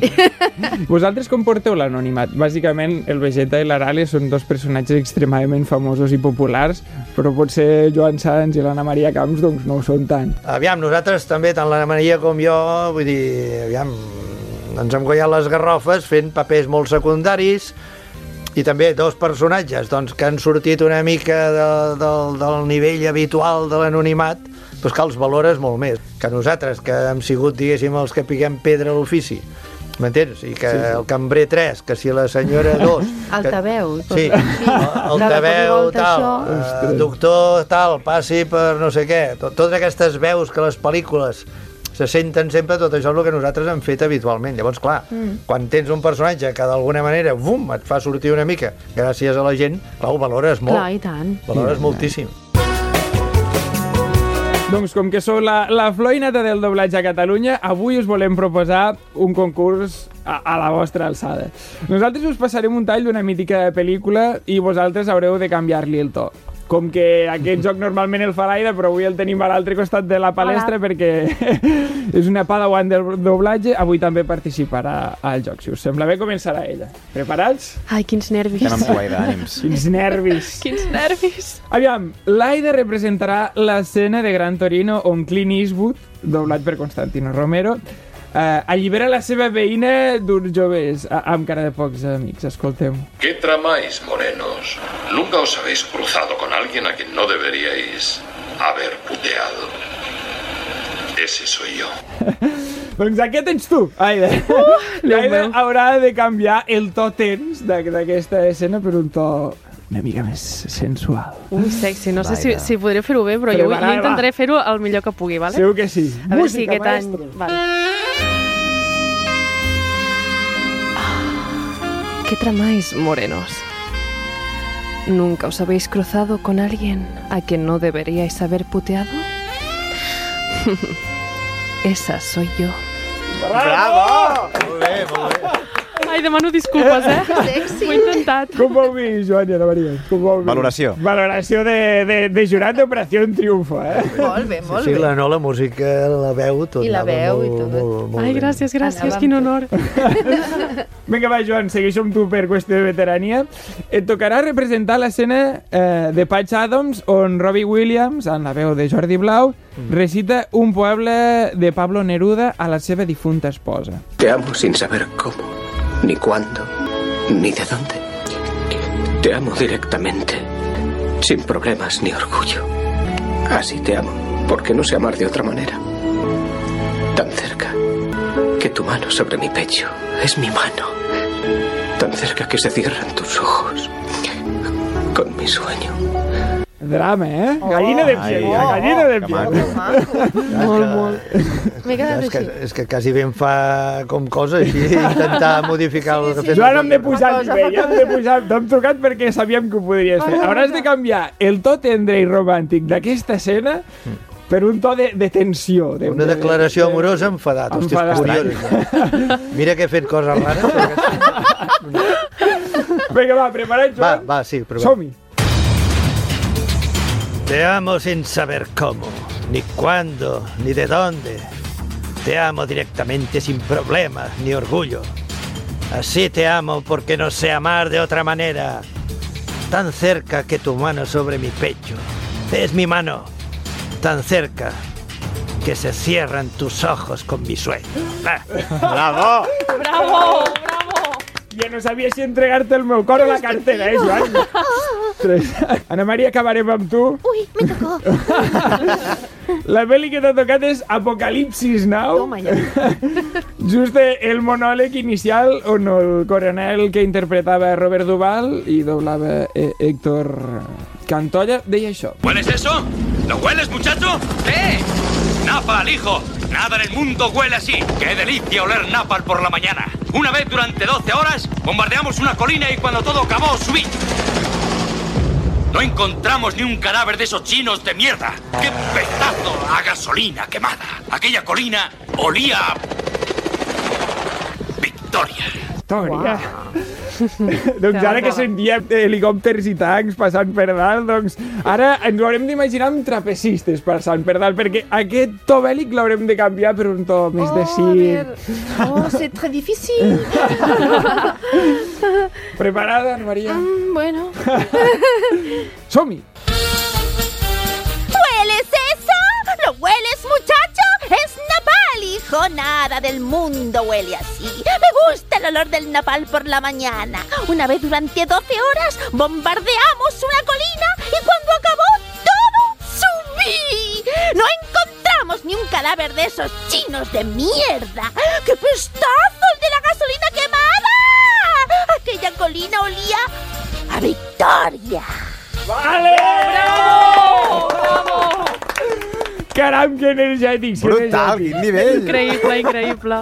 [SPEAKER 3] Vosaltres com porteu l'anonimat? Bàsicament, el Vegeta i l'Arale són dos personatges extremadament famosos i populars, però potser Joan Sanz i l'Anna Maria Camps doncs no ho són tant.
[SPEAKER 26] Aviam, nosaltres també, tant l'Anna Maria com jo, vull dir, aviam, ens hem guanyat les garrofes fent papers molt secundaris, i també dos personatges doncs, que han sortit una mica de, de, del nivell habitual de l'anonimat, doncs que els valores molt més que nosaltres, que hem sigut, diguéssim, els que piquem pedra a l'ofici. M'entens? I que sí, sí. el cambrer 3, que si la senyora 2...
[SPEAKER 25] Altaveu.
[SPEAKER 26] Que... Sí, altaveu, tal, eh, doctor, tal, passi per no sé què. Tot, totes aquestes veus que les pel·lícules se senten sempre tot això el que nosaltres hem fet habitualment. Llavors, clar, mm. quan tens un personatge que d'alguna manera, bum, et fa sortir una mica, gràcies a la gent, clar, ho valores molt.
[SPEAKER 25] Clar, i tant.
[SPEAKER 26] Valores sí, moltíssim. Tant.
[SPEAKER 3] Doncs com que sou la, la flor i nata del doblatge a Catalunya, avui us volem proposar un concurs a, a la vostra alçada. Nosaltres us passarem un tall d'una mítica pel·lícula i vosaltres haureu de canviar-li el to com que aquest joc normalment el fa l'Aida, però avui el tenim a l'altre costat de la palestra Hola. perquè és una padawan del doblatge, avui també participarà al joc. Si us sembla bé, començarà ella. Preparats?
[SPEAKER 25] Ai, quins nervis.
[SPEAKER 4] Anem amb cua, Aida, ànims.
[SPEAKER 3] Quins nervis.
[SPEAKER 25] quins nervis.
[SPEAKER 3] Aviam, l'Aida representarà l'escena de Gran Torino on Clint Eastwood, doblat per Constantino Romero, eh, allibera la seva veïna d'uns joves amb cara de pocs amics. Escolteu.
[SPEAKER 27] ¿Qué tramáis, morenos? Nunca os habéis cruzado con alguien a quien no deberíais haber puteado. Ese soy yo.
[SPEAKER 3] doncs aquest ets tu, Aida. Uh, L'Aida haurà de canviar el to tens d'aquesta escena per un to una mica més sensual.
[SPEAKER 2] Un sexy, no Vaja. sé si, si podré fer-ho bé, però, però jo, va, jo intentaré fer-ho el millor que pugui, vale?
[SPEAKER 3] Segur que sí.
[SPEAKER 2] A veure si aquest any... Vale. ¿Qué tramáis, morenos? ¿Nunca os habéis cruzado con alguien a quien no deberíais haber puteado? Esa soy yo.
[SPEAKER 26] ¡Bravo! Molt bé, molt bé.
[SPEAKER 2] Ai, demano disculpes, eh? Sexy. Ho he intentat.
[SPEAKER 3] Com vol dir, Joan i Ana Maria? Com vol dir?
[SPEAKER 4] Valoració.
[SPEAKER 3] Valoració de, de, de jurat d'Operació en Triunfo, eh?
[SPEAKER 25] Molt bé, molt
[SPEAKER 26] sí,
[SPEAKER 25] sí,
[SPEAKER 26] bé. La, no, la música, la veu, tot.
[SPEAKER 25] I la veu molt, i tot.
[SPEAKER 2] Molt, molt, Ai, gràcies, gràcies, Anàvem quin honor.
[SPEAKER 3] Vinga, va, Joan, segueixo amb tu per qüestió de veterania. Et tocarà representar l'escena eh, de Patch Adams on Robbie Williams, en la veu de Jordi Blau, recita un poble de Pablo Neruda a la seva difunta esposa.
[SPEAKER 6] Te amo sin saber cómo, ni cuándo, ni de dónde. Te amo directamente. sin problemas ni orgullo. Así te amo, porque no sé amar de otra manera. Tan cerca que tu mano sobre mi pecho es mi mano. Tan cerca que se cierran tus ojos con mi sueño.
[SPEAKER 3] Drama, eh? Oh, gallina de piel, oh, gallina de piel.
[SPEAKER 25] Oh, molt, molt. M'he quedat
[SPEAKER 26] és que,
[SPEAKER 25] així.
[SPEAKER 26] És que quasi ben fa com cosa així, intentar modificar sí,
[SPEAKER 3] sí, el... Sí, Joan, hem de pujar el nivell, hem de pujar... T'hem trucat perquè sabíem que ho podries fer. Hauràs de canviar el to tendre i romàntic d'aquesta escena per un to de, de tensió. De,
[SPEAKER 26] Una declaració amorosa enfadat. Enfadat. Hòstia, curiós. Mira que he fet coses rares.
[SPEAKER 3] Vinga, va, preparat, Joan?
[SPEAKER 26] Va, va, sí,
[SPEAKER 3] prepara. Som-hi.
[SPEAKER 26] Te amo sin saber cómo, ni cuándo, ni de dónde. Te amo directamente sin problemas ni orgullo. Así te amo porque no sé amar de otra manera. Tan cerca que tu mano sobre mi pecho es mi mano. Tan cerca que se cierran tus ojos con mi sueño.
[SPEAKER 4] ¡Bravo!
[SPEAKER 25] ¡Bravo!
[SPEAKER 3] Ja no sabia si entregar-te el meu cor o la cartera, eh, Joan?
[SPEAKER 24] Oh,
[SPEAKER 3] Ostres. Ana Maria, acabarem amb tu.
[SPEAKER 24] Ui, me tocó.
[SPEAKER 3] La pel·li que t'ha tocat és Apocalipsis Now.
[SPEAKER 25] Toma ja.
[SPEAKER 3] Just el monòleg inicial on el coronel que interpretava Robert Duval i doblava eh, Héctor Cantolla deia això.
[SPEAKER 28] ¿Hueles eso? ¿Lo hueles, muchacho? ¿Qué? Napa, hijo. Nada en el mundo huele así. ¡Qué delicia oler napal por la mañana! Una vez durante 12 horas, bombardeamos una colina y cuando todo acabó, subí. No encontramos ni un cadáver de esos chinos de mierda. ¡Qué pedazo a gasolina quemada! Aquella colina olía a... Victoria.
[SPEAKER 3] Victoria. doncs ara que sentíem helicòpters i tancs passant per dalt, doncs ara ens ho haurem d'imaginar amb trapecistes passant per dalt, perquè aquest to bèl·lic l'haurem de canviar per un to més
[SPEAKER 25] oh,
[SPEAKER 3] de
[SPEAKER 25] circ. Oh, c'est très difficile.
[SPEAKER 3] Preparada, Ana María?
[SPEAKER 25] Mm, bueno.
[SPEAKER 3] Somi.
[SPEAKER 24] ¿Hueles eso? ¿Lo hueles, muchacho? Es napal, hijo. Nada del mundo huele así. Me gusta el olor del napal por la mañana. Una vez durante 12 horas bombardeamos una colina y cuando acabó todo, subí. No encontramos ni un cadáver de esos chinos de mierda. ¡Qué pestazo el de la gasolina quemada! Aquella colina olía a victoria.
[SPEAKER 3] Vale!
[SPEAKER 25] Bravo! Bravo!
[SPEAKER 3] Caram, que energètics! que
[SPEAKER 4] Brutal,
[SPEAKER 3] energètics.
[SPEAKER 4] quin nivell!
[SPEAKER 2] Increïble, increïble.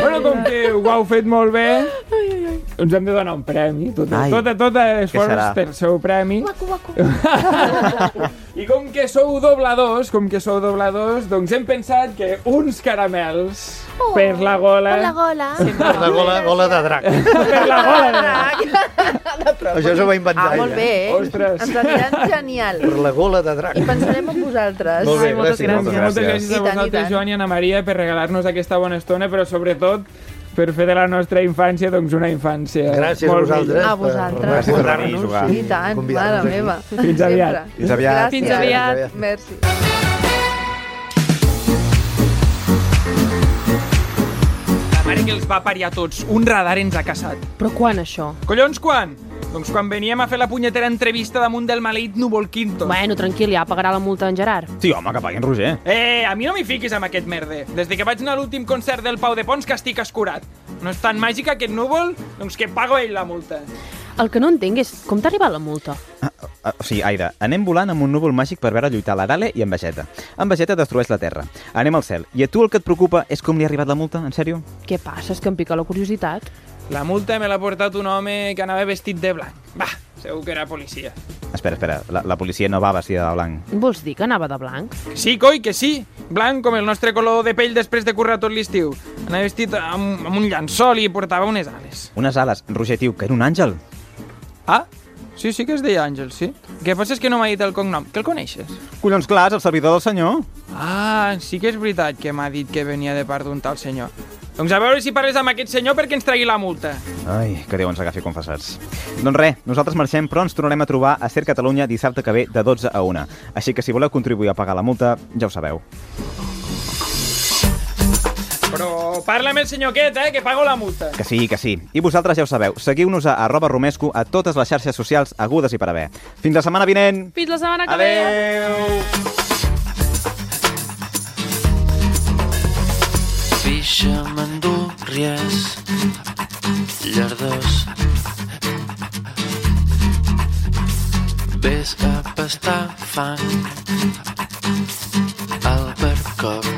[SPEAKER 3] Bueno, com que ho heu fet molt bé, ens hem de donar un premi. Tot,
[SPEAKER 4] Ai,
[SPEAKER 3] tot, tot esforç
[SPEAKER 4] serà?
[SPEAKER 3] pel seu premi.
[SPEAKER 24] Guacu, guacu.
[SPEAKER 3] I com que sou dobladors, com que sou dobladors, doncs hem pensat que uns caramels per la gola...
[SPEAKER 24] Per la gola.
[SPEAKER 26] La gola, gola de drac.
[SPEAKER 3] Per la gola.
[SPEAKER 26] Això s'ho va inventar
[SPEAKER 25] Ah, molt
[SPEAKER 26] ella.
[SPEAKER 25] bé, eh?
[SPEAKER 3] Ostres.
[SPEAKER 25] Ens aniran genial.
[SPEAKER 26] Per la gola de drac.
[SPEAKER 25] I pensarem en vosaltres.
[SPEAKER 26] Molt bé,
[SPEAKER 2] Ai, moltes
[SPEAKER 26] gràcies.
[SPEAKER 2] gràcies.
[SPEAKER 3] Moltes gràcies,
[SPEAKER 4] gràcies.
[SPEAKER 3] a
[SPEAKER 25] I tant, i
[SPEAKER 3] vosaltres,
[SPEAKER 25] tant.
[SPEAKER 3] Joan i Ana Maria, per regalar-nos aquesta bona estona, però sobretot per fer de la nostra infància doncs una infància
[SPEAKER 26] Gràcies a
[SPEAKER 3] molt
[SPEAKER 26] vosaltres.
[SPEAKER 25] A
[SPEAKER 26] Per
[SPEAKER 25] vosaltres.
[SPEAKER 4] venir a
[SPEAKER 26] recordar-nos.
[SPEAKER 4] jugar.
[SPEAKER 25] I tant, mare
[SPEAKER 26] Convidar-nos aquí.
[SPEAKER 25] meva.
[SPEAKER 3] Fins aviat.
[SPEAKER 25] Sempre.
[SPEAKER 4] Fins aviat.
[SPEAKER 25] Gràcies.
[SPEAKER 2] Fins aviat.
[SPEAKER 25] Merci.
[SPEAKER 3] La mare que els va parir a tots. Un radar ens ha caçat.
[SPEAKER 2] Però quan, això?
[SPEAKER 3] Collons, quan? Doncs quan veníem a fer la punyetera entrevista damunt del maleït Núvol Quinto.
[SPEAKER 2] Bueno, tranquil, ja pagarà la multa en Gerard.
[SPEAKER 4] Sí, home, que paguin Roger.
[SPEAKER 3] Eh, a mi no m'hi fiquis amb aquest merder. Des de que vaig anar a l'últim concert del Pau de Pons que estic escurat. No és tan màgica aquest núvol? Doncs que pago ell la multa.
[SPEAKER 2] El que no entenc és com t'ha arribat la multa.
[SPEAKER 4] Ah, ah, o sigui, Aire, anem volant amb un núvol màgic per veure lluitar l'Arale i en Vegeta. En Vegeta destrueix la Terra. Anem al cel. I a tu el que et preocupa és com li ha arribat la multa? En sèrio?
[SPEAKER 2] Què passa? És que em pica la curiositat.
[SPEAKER 3] La multa me l'ha portat un home que anava vestit de blanc. Va, segur que era policia.
[SPEAKER 4] Espera, espera. La, la policia no va vestida de blanc.
[SPEAKER 2] Vols dir que anava de blanc?
[SPEAKER 3] Sí, coi, que sí. Blanc com el nostre color de pell després de currar tot l'estiu. Anava vestit amb, amb un llençol i portava unes ales.
[SPEAKER 4] Unes ales. Roger, tio, que era un àngel.
[SPEAKER 3] Ah, sí, sí que es deia Àngel, sí. El que passa és que no m'ha dit el cognom. Que el coneixes?
[SPEAKER 4] Collons, clar, és el servidor del senyor.
[SPEAKER 3] Ah, sí que és veritat que m'ha dit que venia de part d'un tal senyor. Doncs a veure si parles amb aquest senyor perquè ens tregui la multa.
[SPEAKER 4] Ai, que Déu ens agafi confessats. Doncs res, nosaltres marxem, però ens tornarem a trobar a Ser Catalunya dissabte que ve de 12 a 1. Així que si voleu contribuir a pagar la multa, ja ho sabeu.
[SPEAKER 3] Però parla amb el senyor aquest, eh, que pago la multa.
[SPEAKER 4] Que sí, que sí. I vosaltres ja ho sabeu. Seguiu-nos a arroba romesco a totes les xarxes socials agudes i per haver. Fins la setmana vinent!
[SPEAKER 2] Fins la setmana que
[SPEAKER 4] Adeu.
[SPEAKER 29] Pixa, mandúries, llardós. Ves cap a estar fang, al barcoc.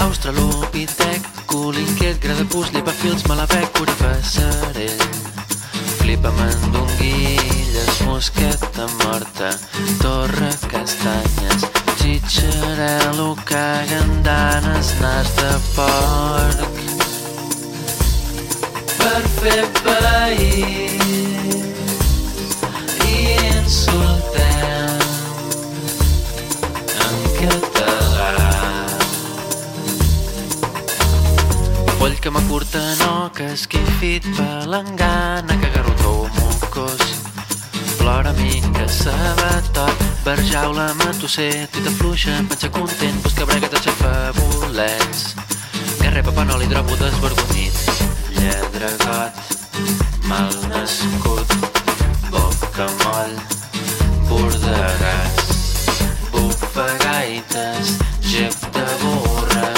[SPEAKER 29] Australopitec, cul inquiet, gra de pus, llepafils, malapec, cura passarell. Flipa mandonguilles, mosqueta morta, torre castanyes, xitxarel·lo, cagandanes, nas de porc. Per fer país i insultem en català. Poll que m'acurta no, que esquifit palangana, que garrotó mocós. Plora minca, sabatot, barjaula, matosser, tita fluixa, menja content, busca brega, t'aixafa bolets. Guerrer, papa, no li drobo desvergonyit, lladregot, mal nascut, boca moll, bordegats, bufagaites, gep de borra,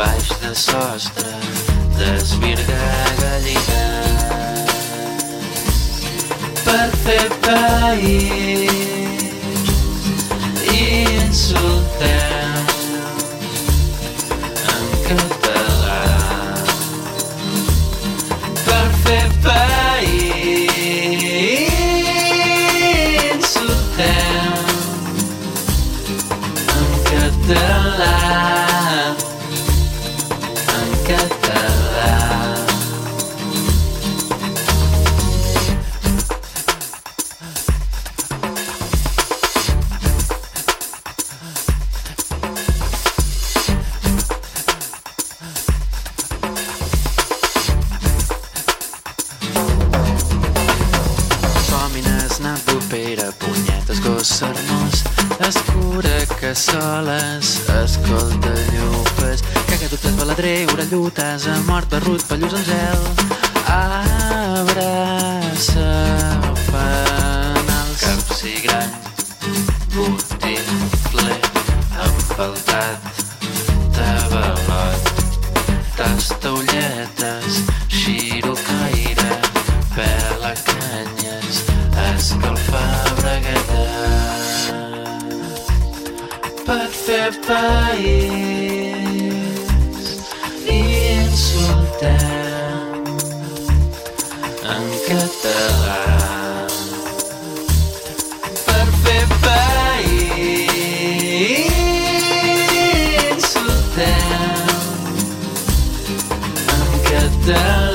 [SPEAKER 29] baix de sostre, desvirga gallina. Per fer país i insultem en català. Per fer país insultem en català. En català. Fòmines, nap propera, punyetes, gos sermós, escura que soles, escolta llopes, caga dubtes, baladrer, orellutes, a mort, barrut, pallús en gel, abraça, penals, cap cigrany, botifler, empaltat, tabalot, tasta ulletes, xirocaire, pela canyes, escalfar breguetes. Per fer país i insultem en català. Per fer país insultem en català.